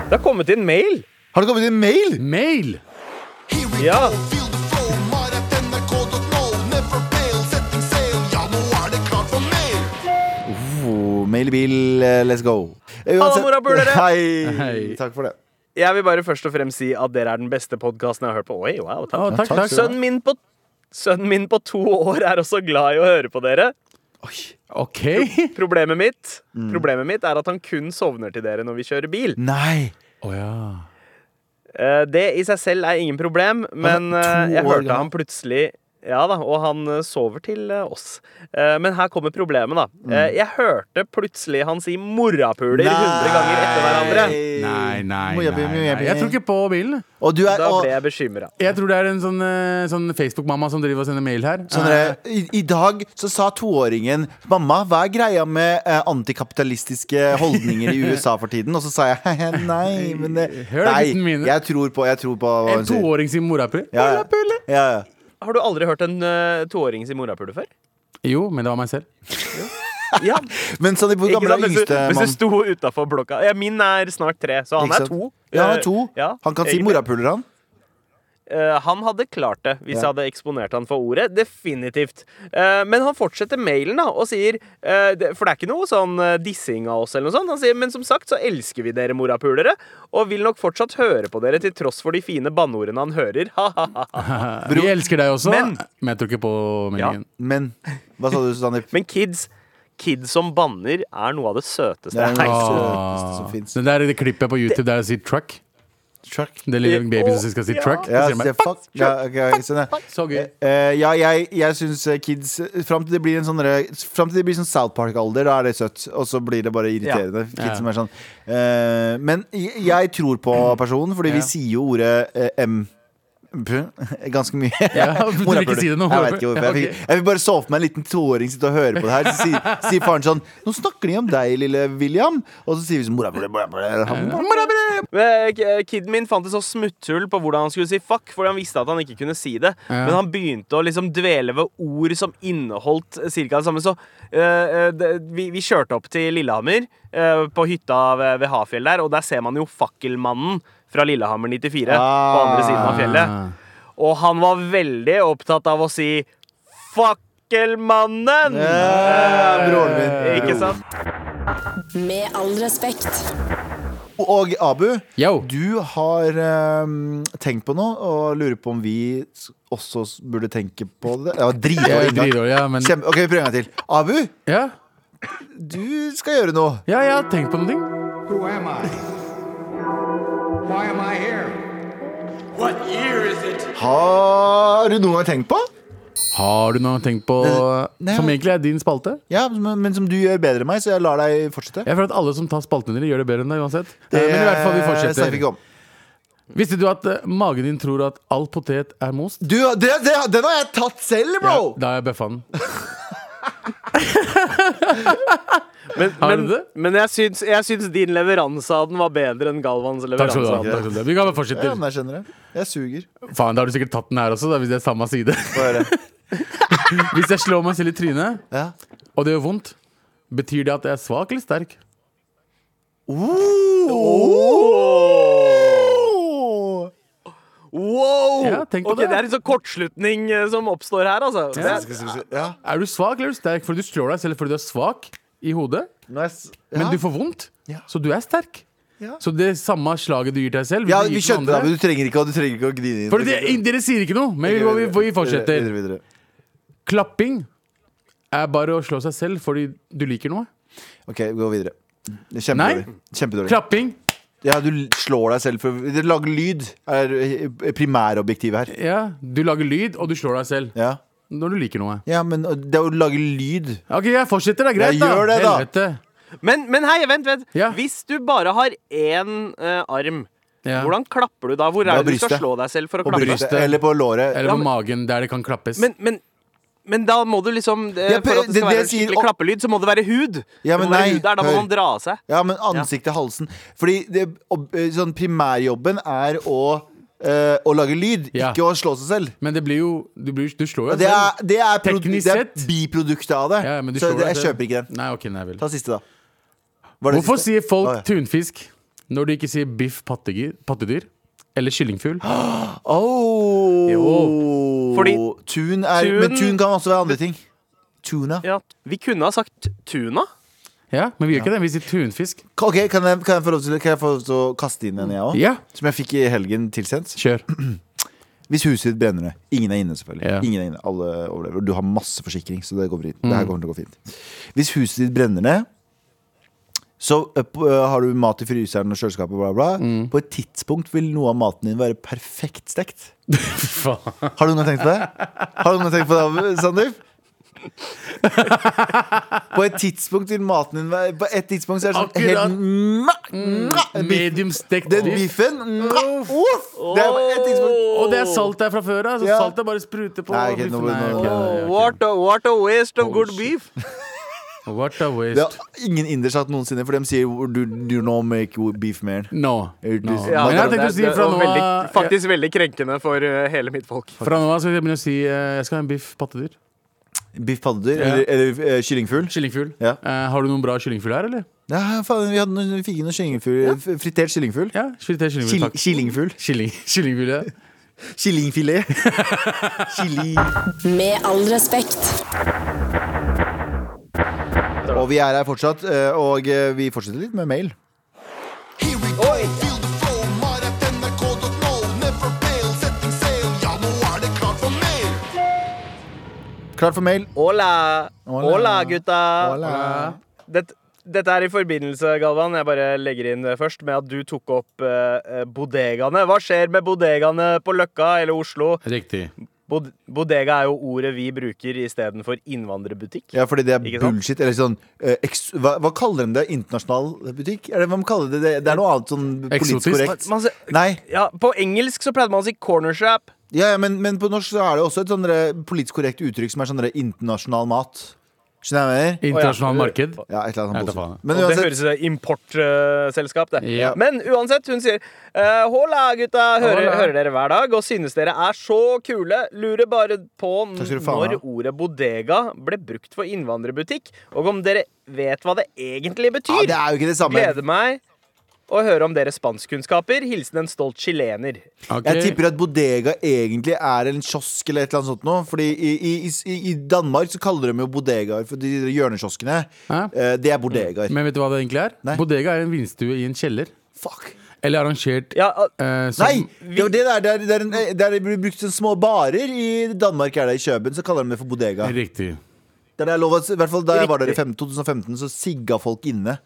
Speaker 4: Det har kommet inn mail.
Speaker 2: Har det kommet en mail?
Speaker 3: Mail!
Speaker 4: Ja.
Speaker 2: Oh, mail i bil, eh, let's go. Eh,
Speaker 4: Halla,
Speaker 2: uansett-
Speaker 4: morapulere!
Speaker 2: Hei.
Speaker 3: Hei.
Speaker 2: Takk for det.
Speaker 4: Jeg vil bare først og fremst si at dere er den beste podkasten jeg har hørt på. Oi, wow, takk.
Speaker 3: Å, takk,
Speaker 2: takk
Speaker 3: takk.
Speaker 2: skal
Speaker 4: Sønnen min på Sønnen min på to år er også glad i å høre på dere.
Speaker 3: OK.
Speaker 4: Problemet mitt
Speaker 2: Mm.
Speaker 4: Problemet mitt er at han kun sovner til dere når vi kjører bil.
Speaker 2: Nei.
Speaker 3: Å ja.
Speaker 4: Eh, Det i seg selv er ingen problem, men
Speaker 2: Han er to
Speaker 4: eh, jeg
Speaker 2: år
Speaker 4: hørte
Speaker 2: gammel.
Speaker 4: han plutselig Ja da, og han eh, sover til eh, oss. Eh, Men her kommer problemet, da.
Speaker 2: Mm.
Speaker 4: Eh, Jeg hørte plutselig han si 'morapuler' 100 ganger etter hverandre.
Speaker 3: Nei, nei,
Speaker 2: Må
Speaker 3: nei,
Speaker 2: jeg be- må jeg
Speaker 3: nei.
Speaker 2: be-
Speaker 3: Jeg tror ikke på bilen.
Speaker 2: Og du er
Speaker 4: Da
Speaker 2: og,
Speaker 4: ble jeg bekymra.
Speaker 3: Jeg tror det er en sånn, eh, sånn Facebook-mamma som driver og sender mail her.
Speaker 2: sånn dere, i, I dag så sa toåringen Mamma, hva er greia med eh, antikapitalistiske holdninger i USA for tiden? Og så sa jeg nei, men det,
Speaker 3: Hør da, gutten
Speaker 2: Nei,
Speaker 3: min.
Speaker 2: jeg tror på, jeg tror på hva
Speaker 3: Eh, En
Speaker 2: hun sier.
Speaker 3: toåring sier morapule.
Speaker 2: Ja, ja. Ja, ja.
Speaker 4: Har du aldri hørt en eh, toåring si 'morapule' før?
Speaker 3: Jo, men det var meg selv.
Speaker 4: Ja,
Speaker 2: Men sånn, hvor
Speaker 4: ikke
Speaker 2: gammel
Speaker 4: sant?
Speaker 2: er
Speaker 4: Hvis du,
Speaker 2: yngste
Speaker 4: hvis du
Speaker 2: mann?
Speaker 4: sto utafor blokka ja, Min er snart tre, så han
Speaker 2: Ikke
Speaker 4: er
Speaker 2: sant?
Speaker 4: to.
Speaker 2: Ja, han
Speaker 4: Eh,
Speaker 2: er to.
Speaker 4: ja,
Speaker 2: Han kan si
Speaker 4: egentlig.
Speaker 2: morapuler, han.
Speaker 4: Eh, han hadde klart det hvis jeg
Speaker 2: Ja.
Speaker 4: hadde eksponert han for ordet. Definitivt. Eh, men han fortsetter mailen da og sier eh, det, For det er ikke noe sånn eh, dissing av oss. eller noe sånt Han sier men som sagt så elsker vi dere morapulere og vil nok fortsatt høre på dere til tross for de fine banneordene han hører. Ha-ha-ha.
Speaker 3: Vi elsker deg også, men,
Speaker 4: Men-
Speaker 3: jeg tror ikke på meldingen.
Speaker 2: Men hva sa du, Sandeep?
Speaker 4: men kids Kids som banner er noe av det søteste.
Speaker 2: Det er noe
Speaker 4: jeg
Speaker 2: av
Speaker 4: har
Speaker 2: det
Speaker 4: sett.
Speaker 2: søteste som fins.
Speaker 3: Ah. Det der klippet på YouTube der jeg sier truck.
Speaker 2: Truck.
Speaker 3: Det lille
Speaker 4: Eh,
Speaker 3: babyen
Speaker 4: å,
Speaker 3: som skal si
Speaker 4: ja.
Speaker 3: truck.
Speaker 2: Ja,
Speaker 3: så
Speaker 2: se,
Speaker 3: sier man,
Speaker 2: fuck. Ja, ok, ok, sånn, ja.
Speaker 3: Så gøy.
Speaker 2: Eh, ja, jeg, jeg syns kids Fram til det blir en sånn derre- Frem til det blir sånn South Park-alder, da er det søtt. Og så blir det bare irriterende. Kids
Speaker 3: Ja.
Speaker 2: som er sånn eh, Men jeg, jeg tror på personen, fordi
Speaker 3: Ja.
Speaker 2: vi sier jo ordet eh, M. P- Ganske mye.
Speaker 3: Ja, du vil ikke
Speaker 2: Morapuler.
Speaker 3: si det nå.
Speaker 2: Jeg vet ikke hvorfor. Jeg,
Speaker 3: Ja,
Speaker 2: fikk, jeg vil bare så for meg en liten toåring sitte og høre på det her. Så sier, sier faren sånn Nå snakker de om deg, lille William. Og så sier vi sånn morapuler, morapuler, morapuler.
Speaker 4: Men, eh, Kiden min fant et sånt smutthull på hvordan han skulle si fuck, fordi han visste at han ikke kunne si det.
Speaker 3: Ja.
Speaker 4: Men han begynte å liksom dvele ved ord som inneholdt cirka det samme. Så eh, eh, det, vi, vi kjørte opp til Lillehammer, eh, på hytta ved, ved Hafjell der, og der ser man jo Fakkelmannen fra Lillehammer 94 på andre siden av fjellet.
Speaker 3: Ah.
Speaker 4: Og han var veldig opptatt av å si Fakkelmannen! Eh,
Speaker 2: Ja, broren min.
Speaker 4: Ikke sant?
Speaker 1: Med all respekt.
Speaker 2: Og Abu,
Speaker 3: Yo.
Speaker 2: du har ehm, tenkt på noe og lurer på om vi s- også s- burde tenke på det. Det var
Speaker 3: Jeg
Speaker 2: dritdårlig
Speaker 3: er
Speaker 2: inngang.
Speaker 3: dritdårlig, ja, men
Speaker 2: Kjempe, ok, vi prøver en gang til. Abu,
Speaker 3: ja.
Speaker 2: du skal gjøre noe.
Speaker 3: ja, jeg har tenkt på noe.
Speaker 5: Who am I? Why am I here?
Speaker 2: Har du noen gang tenkt på?
Speaker 3: Har du noe tenkt på
Speaker 2: Nei,
Speaker 3: som
Speaker 2: jeg-
Speaker 3: egentlig er din spalte?
Speaker 2: Ja, men, men som du gjør bedre enn meg, så jeg lar deg fortsette.
Speaker 3: Jeg føler at alle som tar spaltene dine, gjør det bedre enn deg uansett. Eh, Men i hvert fall, vi
Speaker 2: snakker vi
Speaker 3: fortsetter.
Speaker 2: ikke om.
Speaker 3: Visste du at eh, magen din tror at all potet er most?
Speaker 2: Du, det, det, den har jeg tatt selv,
Speaker 3: Ja,
Speaker 2: bro!
Speaker 3: da har jeg bøffa den.
Speaker 4: Men,
Speaker 3: Har du
Speaker 4: men,
Speaker 3: det?
Speaker 4: men jeg, syns, jeg syns din leveranse av den var bedre enn Galvans
Speaker 3: Takk skal du
Speaker 4: leveranse.
Speaker 3: ha.
Speaker 4: av den.
Speaker 3: Takk skal du ha. Vi kan bare
Speaker 2: Ja,
Speaker 3: fortsette.
Speaker 2: men jeg skjønner det. Jeg suger.
Speaker 3: Faen, da har du sikkert tatt den her også, da, hvis det er samme side.
Speaker 2: Få høre.
Speaker 3: Hvis jeg slår meg selv i trynet,
Speaker 2: Ja.
Speaker 3: og det gjør vondt, betyr det at jeg er svak eller sterk?
Speaker 4: Oh! Wow!
Speaker 3: Ja, tenk på
Speaker 4: Ok,
Speaker 3: det.
Speaker 4: det er en sånn kortslutning eh, som oppstår her, altså. Det,
Speaker 2: Ja.
Speaker 3: Er du svak eller er du sterk? For du slår deg selv fordi du er svak i hodet,
Speaker 2: Nå er jeg s-
Speaker 3: men
Speaker 2: Ja.
Speaker 3: du får vondt,
Speaker 2: Ja.
Speaker 3: så du er sterk.
Speaker 2: Ja.
Speaker 3: Så det samme slaget du gir til deg selv, vil
Speaker 2: Ja,
Speaker 3: du gi
Speaker 2: vi
Speaker 3: til
Speaker 2: skjønte det,
Speaker 3: andre.
Speaker 2: men du trenger ikke, å- du trenger ikke å gnide inn.
Speaker 3: Fordi det, dere sier ikke noe, men vi, vi, vi fortsetter.
Speaker 2: Videre, videre, videre.
Speaker 3: Klapping er bare å slå seg selv fordi du liker noe.
Speaker 2: Ok, gå videre. Det er Kjempedårlig. Kjempedårlig.
Speaker 3: Klapping
Speaker 2: Ja, du l- slår deg selv for å lage lyd. er eh, primærobjektivet her.
Speaker 3: Ja, du lager lyd, og du slår deg selv
Speaker 2: Ja.
Speaker 3: når du liker noe.
Speaker 2: ja, men eh, det å lage lyd
Speaker 3: Ok, jeg fortsetter, det er greit,
Speaker 2: Ja,
Speaker 3: da.
Speaker 2: gjør det, da.
Speaker 3: Helvete.
Speaker 4: men, men hei, vent, vent.
Speaker 3: Ja.
Speaker 4: Hvis du bare har én eh, arm,
Speaker 3: Ja.
Speaker 4: hvordan klapper du da? Hvor
Speaker 2: Da
Speaker 4: er det du skal
Speaker 2: brystet.
Speaker 4: slå deg selv for å
Speaker 2: på
Speaker 4: klappe?
Speaker 2: brystet
Speaker 3: brystet.
Speaker 2: eller på låret.
Speaker 3: Eller
Speaker 4: Ja,
Speaker 3: på
Speaker 4: men-
Speaker 3: magen, der det kan klappes.
Speaker 4: Men, men, men da må du liksom eh,
Speaker 2: Ja,
Speaker 4: For at
Speaker 2: det-
Speaker 4: det skal være
Speaker 2: det sier-
Speaker 4: en skikkelig klappelyd, så må det være hud.
Speaker 2: Ja, men
Speaker 4: det må være
Speaker 2: nei,
Speaker 4: hud der, da må
Speaker 2: hør.
Speaker 4: man dra av seg.
Speaker 2: Ja, men ansiktet, halsen. Fordi det, ob- eh, sånn primærjobben er å eh, å lage lyd,
Speaker 3: Ja.
Speaker 2: ikke å slå seg selv.
Speaker 3: Men det blir jo Du, blir, du slår jo
Speaker 2: Det er, det er, produ-
Speaker 3: Teknisk
Speaker 2: det er
Speaker 3: sett.
Speaker 2: biproduktet av det.
Speaker 3: Ja, ja, men du
Speaker 2: så
Speaker 3: slår
Speaker 2: det,
Speaker 3: deg
Speaker 2: jeg
Speaker 3: selv.
Speaker 2: kjøper ikke den.
Speaker 3: Nei, ok, nei vel.
Speaker 2: Ta siste, da. Var det
Speaker 3: Hvorfor
Speaker 2: siste?
Speaker 3: sier folk
Speaker 2: Å, ja.
Speaker 3: tunfisk når de ikke sier biff pattegir- pattedyr? Eller kyllingfugl?
Speaker 2: Oh.
Speaker 4: Fordi-
Speaker 2: tun er, Men
Speaker 4: Tun-
Speaker 2: tun kan også være andre ting. Tuna.
Speaker 4: Ja. Vi kunne ha sagt tuna.
Speaker 3: Ja, men vi gjør ikke det. Vi sier tunfisk.
Speaker 2: Ok, Kan jeg, kan jeg få lov til, kan jeg få lov til å kaste inn en, jeg òg?
Speaker 3: Ja,
Speaker 2: Som jeg fikk i helgen tilsendt.
Speaker 3: kjør.
Speaker 2: Hvis huset ditt brenner ned. Ingen er inne, selvfølgelig.
Speaker 3: Ja.
Speaker 2: Ingen er inne, alle overlever Du har
Speaker 4: Mm.
Speaker 2: masse forsikring, så det, går fint. det her kommer til å gå fint. Hvis huset ditt brenner ned, Så eh, på- eh, har du mat i fryseren og kjøleskapet, bla, bla.
Speaker 4: Mm.
Speaker 2: På et tidspunkt vil noe av maten din være perfekt stekt. Har du noen gang tenkt på det? Har du noen gang tenkt på det, Sandeep? på et tidspunkt vil maten din være På et tidspunkt så er det sånn
Speaker 3: Akkurat. Mm.
Speaker 2: helt mwah, mwah, biff.
Speaker 3: Medium stekt
Speaker 2: Den
Speaker 3: biff.
Speaker 2: biffen mwah, uff, Det er på et tidspunkt
Speaker 3: Og det er salt der fra før av, så
Speaker 2: Ja.
Speaker 3: saltet bare spruter på.
Speaker 2: Nei, ok, nå-
Speaker 3: biffen.
Speaker 2: nå-
Speaker 3: ok,
Speaker 2: nå-
Speaker 3: ok,
Speaker 4: What a, what a waste of good
Speaker 3: shit.
Speaker 4: beef.
Speaker 3: ok. What a
Speaker 2: Det
Speaker 3: waste.
Speaker 2: har ingen inders hatt noensinne, for de sier do, do not make beef man.
Speaker 3: No. no.
Speaker 2: It is-
Speaker 3: Men jeg har tenkt å si fra nå
Speaker 4: veldig,
Speaker 3: av
Speaker 4: Faktisk veldig krenkende for eh, hele mitt folk.
Speaker 3: Fra nå av skal jeg begynne å si eh, jeg skal ha en biff pattedyr.
Speaker 2: Biff pattedyr eller, eller eh, kyllingfugl.
Speaker 3: Kyllingfugl.
Speaker 2: Ja.
Speaker 3: Eh, har du noen bra kyllingfugl her, eller?
Speaker 2: Ja, faen, vi, hadde noen, vi fikk inn noe kyllingfugl. f- Fritert kyllingfugl.
Speaker 3: Ja, fritert kyllingfugl,
Speaker 2: Kill,
Speaker 3: takk.
Speaker 2: kyllingfugl.
Speaker 3: Kylling, kyllingfugl, ja.
Speaker 2: Kyllingfilet. Kylling.
Speaker 1: Med all respekt.
Speaker 2: Og vi er her fortsatt, eh, og eh, vi fortsetter litt med mail.
Speaker 6: Here we go, feel the flow, mar.nrk.no, never fail, setting sail, ja nå er det klart for mer.
Speaker 2: Klar for mail.
Speaker 4: Hola!
Speaker 2: Hola.
Speaker 4: Hola, gutta!
Speaker 2: Hola.
Speaker 4: Dette, dette er i forbindelse, Galvan, jeg bare legger inn det først, med at du tok opp eh, eh, bodegaene. Hva skjer med bodegaene på Løkka eller Oslo?
Speaker 3: Riktig.
Speaker 4: Bod bodega er jo ordet vi bruker istedenfor innvandrerbutikk.
Speaker 2: Ja, fordi det er
Speaker 4: Ikke sant?
Speaker 2: bullshit. Eller sånn eh, eks, hva, hva kaller de det? Internasjonal butikk? Er det, hva kaller de det? det er noe annet sånn politisk
Speaker 3: Eksotisk.
Speaker 2: korrekt.
Speaker 4: Man, se-
Speaker 2: Nei,
Speaker 4: ja, på engelsk så pleide man å si corner shop.
Speaker 2: ja, ja, men, men på norsk så er det også et sånn der politisk korrekt uttrykk som er sånn der internasjonal mat. Skjønner jeg hva jeg mener?
Speaker 3: Internasjonal marked.
Speaker 2: Ja, et eller
Speaker 3: Jeg
Speaker 2: annet
Speaker 3: vet da
Speaker 2: sånt.
Speaker 3: faen.
Speaker 2: Men
Speaker 4: Og det
Speaker 2: uansett,
Speaker 4: høres ut som importselskap, det.
Speaker 3: Ja.
Speaker 4: Men uansett, hun sier eh, Hola, gutta! Hører,
Speaker 3: Hola.
Speaker 4: hører dere hver dag og synes dere er så kule. Lurer bare på n-
Speaker 2: Takk skal du faen
Speaker 4: når
Speaker 2: ha.
Speaker 4: ordet bodega ble brukt for innvandrerbutikk, og om dere vet hva det egentlig
Speaker 2: ja,
Speaker 4: betyr.
Speaker 2: det er jo ikke det samme.
Speaker 4: Gleder meg å høre om deres spanskkunnskaper. Hilsen en stolt chilener.
Speaker 3: Ok.
Speaker 2: Jeg tipper at bodega egentlig er en kiosk eller et eller annet sånt noe. Fordi i, i, i, i Danmark så kaller de jo bodegaer for de hjørnekioskene.
Speaker 3: Hæ?
Speaker 2: Eh, Det er bodegaer.
Speaker 3: Men vet du hva det egentlig er?
Speaker 2: Nei.
Speaker 3: Bodega er en vinstue i en kjeller.
Speaker 2: Fuck.
Speaker 3: Eller arrangert
Speaker 4: Ja, al-
Speaker 3: eh, som,
Speaker 2: Nei! Det, er jo det, der, det, er, det, er en, det er- det blir brukt som små barer. I Danmark er det i Kjøben, så kaller de det for bodega.
Speaker 3: Riktig.
Speaker 2: Der det er lov, å- i hvert fall Da jeg var der i
Speaker 4: Riktig.
Speaker 2: fem- 2015, så sigga folk inne.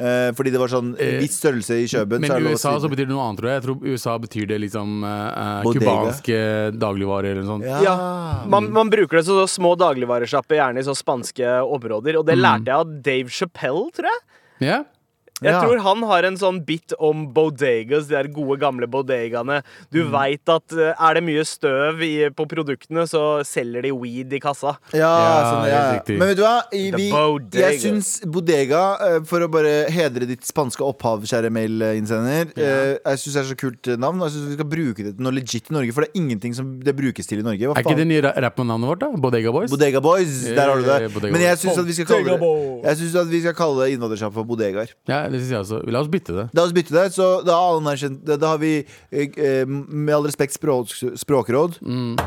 Speaker 2: Eh, fordi det var sånn
Speaker 3: Eh,
Speaker 2: viss størrelse i Kjøben. så er
Speaker 3: Men
Speaker 2: det
Speaker 3: i
Speaker 2: lov å
Speaker 3: USA
Speaker 2: sigge.
Speaker 3: så betyr det noe annet, tror jeg. Jeg tror USA betyr det liksom eh, eh,
Speaker 2: Bodega.
Speaker 3: Cubanske dagligvarer eller noe sånt.
Speaker 2: ja.
Speaker 4: Ja, man, man bruker det som så små dagligvaresjapper, gjerne i så spanske områder. Og det
Speaker 2: Mm.
Speaker 4: lærte jeg av Dave Chappelle, tror jeg.
Speaker 3: Ja?
Speaker 4: Jeg
Speaker 2: Ja.
Speaker 4: tror han har en sånn bit om bodegas, de der gode gamle bodegaene.
Speaker 2: Mm.
Speaker 4: Du vet veit at eh, er det mye støv i, på produktene, så selger de weed i kassa.
Speaker 2: Ja,
Speaker 3: Ja,
Speaker 2: sånn,
Speaker 3: helt
Speaker 2: ja. ja.
Speaker 3: riktig.
Speaker 2: Men vet du hva? I-
Speaker 4: The
Speaker 2: Vi,
Speaker 4: bodega.
Speaker 2: jeg syns bodega, eh, for å bare hedre ditt spanske opphav, kjære mailinnsender eh, Jeg syns det er så kult eh, navn, og jeg syns vi skal bruke det til noe legit i Norge. For det er ingenting som det brukes til i Norge. Hva
Speaker 3: Er ikke
Speaker 2: faen?
Speaker 3: det nye ra- rappnavnet vårt, da? Bodega Boys?
Speaker 2: Bodega Boys, der har du
Speaker 3: Eh,
Speaker 2: det.
Speaker 3: Bodega
Speaker 2: Men jeg
Speaker 3: Boys.
Speaker 2: syns at vi skal kalle det Jeg synes at vi skal kalle det innvandrersjappa for bodegaer.
Speaker 3: Ja, det synes jeg også. La oss bytte det.
Speaker 2: La oss bytte det. Så da har, alle erkjent- da har vi, eh, eh, med all respekt, språk, språkråd.
Speaker 3: Mm.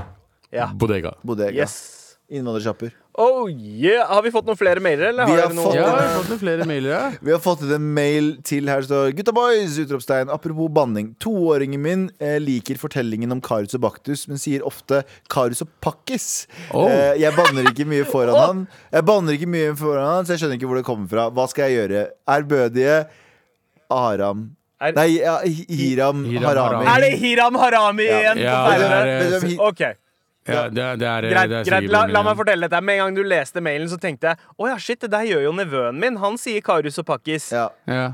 Speaker 4: Ja.
Speaker 3: Bodega.
Speaker 2: Bodega.
Speaker 4: Yes.
Speaker 2: Innvandrersjapper.
Speaker 4: Oh yeah! Har vi fått noen flere mailer, eller?
Speaker 2: Vi har
Speaker 4: dere
Speaker 2: fått-
Speaker 3: Ja,
Speaker 4: noen?
Speaker 3: jeg har fått noen flere mailer, ja.
Speaker 2: Vi har fått ut en mail til her det står Gutta boys! Utropstegn. Apropos banning. Toåringen min eh, liker fortellingen om Karius og Baktus, men sier ofte Karius og Pakkis.
Speaker 3: Oh.
Speaker 2: Eh, jeg banner ikke mye foran han. Jeg banner ikke mye foran han, så jeg skjønner ikke hvor det kommer fra. Hva skal jeg gjøre? Ærbødige Aram
Speaker 4: Er-
Speaker 2: Nei, ja, Hi- Hiram,
Speaker 3: Hiram
Speaker 2: Harami.
Speaker 3: Harami.
Speaker 4: Er det Hiram Harami igjen?
Speaker 3: Ja,
Speaker 4: på
Speaker 3: det
Speaker 4: tegnene?
Speaker 3: er, eh,
Speaker 2: Vet du hvem Hi-
Speaker 4: OK,
Speaker 3: ja, det er, det er,
Speaker 4: greit.
Speaker 3: det er
Speaker 4: greit.
Speaker 3: sikkert
Speaker 4: La,
Speaker 3: mailen.
Speaker 4: la meg fortelle dette. Med en gang du leste mailen, så tenkte jeg å ja, shit, det der gjør jo nevøen min. Han sier Karius og Pakkis.
Speaker 2: Ja.
Speaker 3: Ja.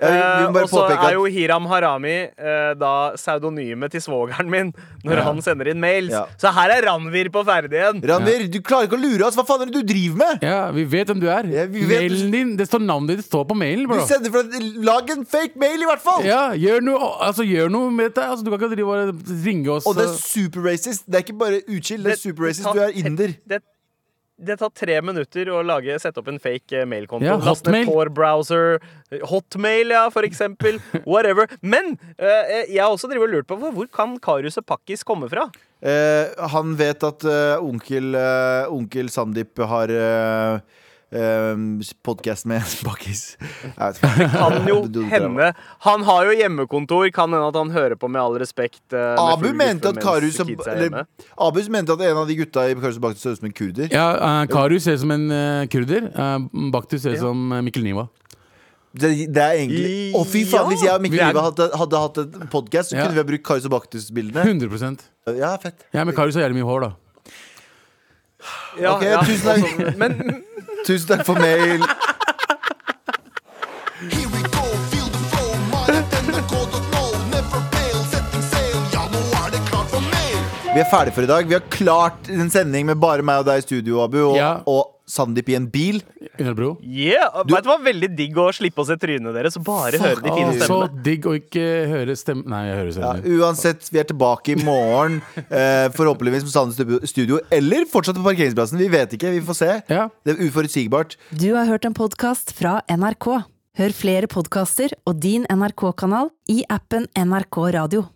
Speaker 2: Ja, vi, vi må
Speaker 4: Eh,
Speaker 2: bare
Speaker 4: og så
Speaker 2: påpeke
Speaker 4: er
Speaker 2: at
Speaker 4: jo Hiram Harami eh, da pseudonymet til svogeren min når han sender inn mails.
Speaker 2: Ja.
Speaker 4: Så her er Ranvir på ferdig igjen.
Speaker 2: Ranvir, du klarer ikke å lure oss! Hva faen er det du driver med?!
Speaker 3: ja, vi vet hvem du er.
Speaker 2: Ja, vi vet-
Speaker 3: Mailen din, det står navnet ditt det står på
Speaker 2: Du
Speaker 3: mailen, bro.
Speaker 2: sender fra Lag en fake mail, i hvert fall!
Speaker 3: Ja, gjør noe, altså, gjør noe med dette. Altså, du kan ikke drive og ringe oss eh,
Speaker 2: Og det er
Speaker 3: og-
Speaker 2: superracist. Det er ikke bare utskill, det er superracist.
Speaker 4: tar-
Speaker 2: Du er inder.
Speaker 4: Det, det tar tre minutter å lage, sette opp en fake eh, mailkonto.
Speaker 3: Ja,
Speaker 4: Last
Speaker 3: Hotmail.
Speaker 4: ned Tor-browser. Hotmail, ja, for eksempel. Whatever. Men eh, jeg har også drivet og lurt på hvor- hvor kan Karius og Pakkis komme fra?
Speaker 2: Eh, han vet at eh, onkel, eh, onkel Sandeep har uh, podkast med Bakkis. Det
Speaker 4: Kan jo hende. Han har jo hjemmekontor. Kan hende at han hører på Med all respekt. eh, med
Speaker 2: Abu
Speaker 4: full
Speaker 2: mente
Speaker 4: guffe
Speaker 2: at
Speaker 4: mens
Speaker 2: Karius og-
Speaker 4: kidsa er hjemme.
Speaker 2: eller, Abu mente at en av de gutta i Karius og Bakkis ser ut som en kurder.
Speaker 3: Ja, eh, Karu ser ut som en eh, kurder. Uh, Baktu ser ut som eh, Mikkel eh, Niva.
Speaker 2: Det, det er egentlig Å, fy faen! Hvis jeg og Mikkel
Speaker 3: Vi er-
Speaker 2: Liva hadde, hadde hatt en podkast, så
Speaker 3: Ja.
Speaker 2: kunne vi ha brukt Karius og Baktus-bildene.
Speaker 3: 100
Speaker 2: Ja, fett.
Speaker 3: Jeg er med Karius har jævlig mye hår, da.
Speaker 4: Ja,
Speaker 2: Ok,
Speaker 4: ja.
Speaker 2: tusen takk.
Speaker 4: Også- Men
Speaker 2: Tusen takk for mail.
Speaker 6: Here we go, feel the flow, maratnrk.no. Never fail, setting sail, ja, nå er det klart for mer.
Speaker 2: Vi er ferdige for i dag. Vi har klart en sending med bare meg og deg i studio, Abu, og,
Speaker 3: Ja.
Speaker 2: og Sandeep i en bil.
Speaker 3: Under bro.
Speaker 4: yeah, vet du hva? Veldig digg å slippe å se trynene deres og bare høre de fine
Speaker 2: ass.
Speaker 3: Så
Speaker 4: stemmene.
Speaker 3: digg å ikke høre stemme Nei, jeg hører
Speaker 2: Ja,
Speaker 3: stemmen. din.
Speaker 2: uansett, vi er tilbake i morgen. Eh, forhåpentligvis på Sandnes Studio- studio, eller fortsatt på parkeringsplassen. Vi vet ikke, vi får se.
Speaker 3: Ja.
Speaker 2: Det er uforutsigbart.
Speaker 7: Du har hørt en podkast fra NRK. Hør flere podkaster og din NRK-kanal i appen NRK Radio.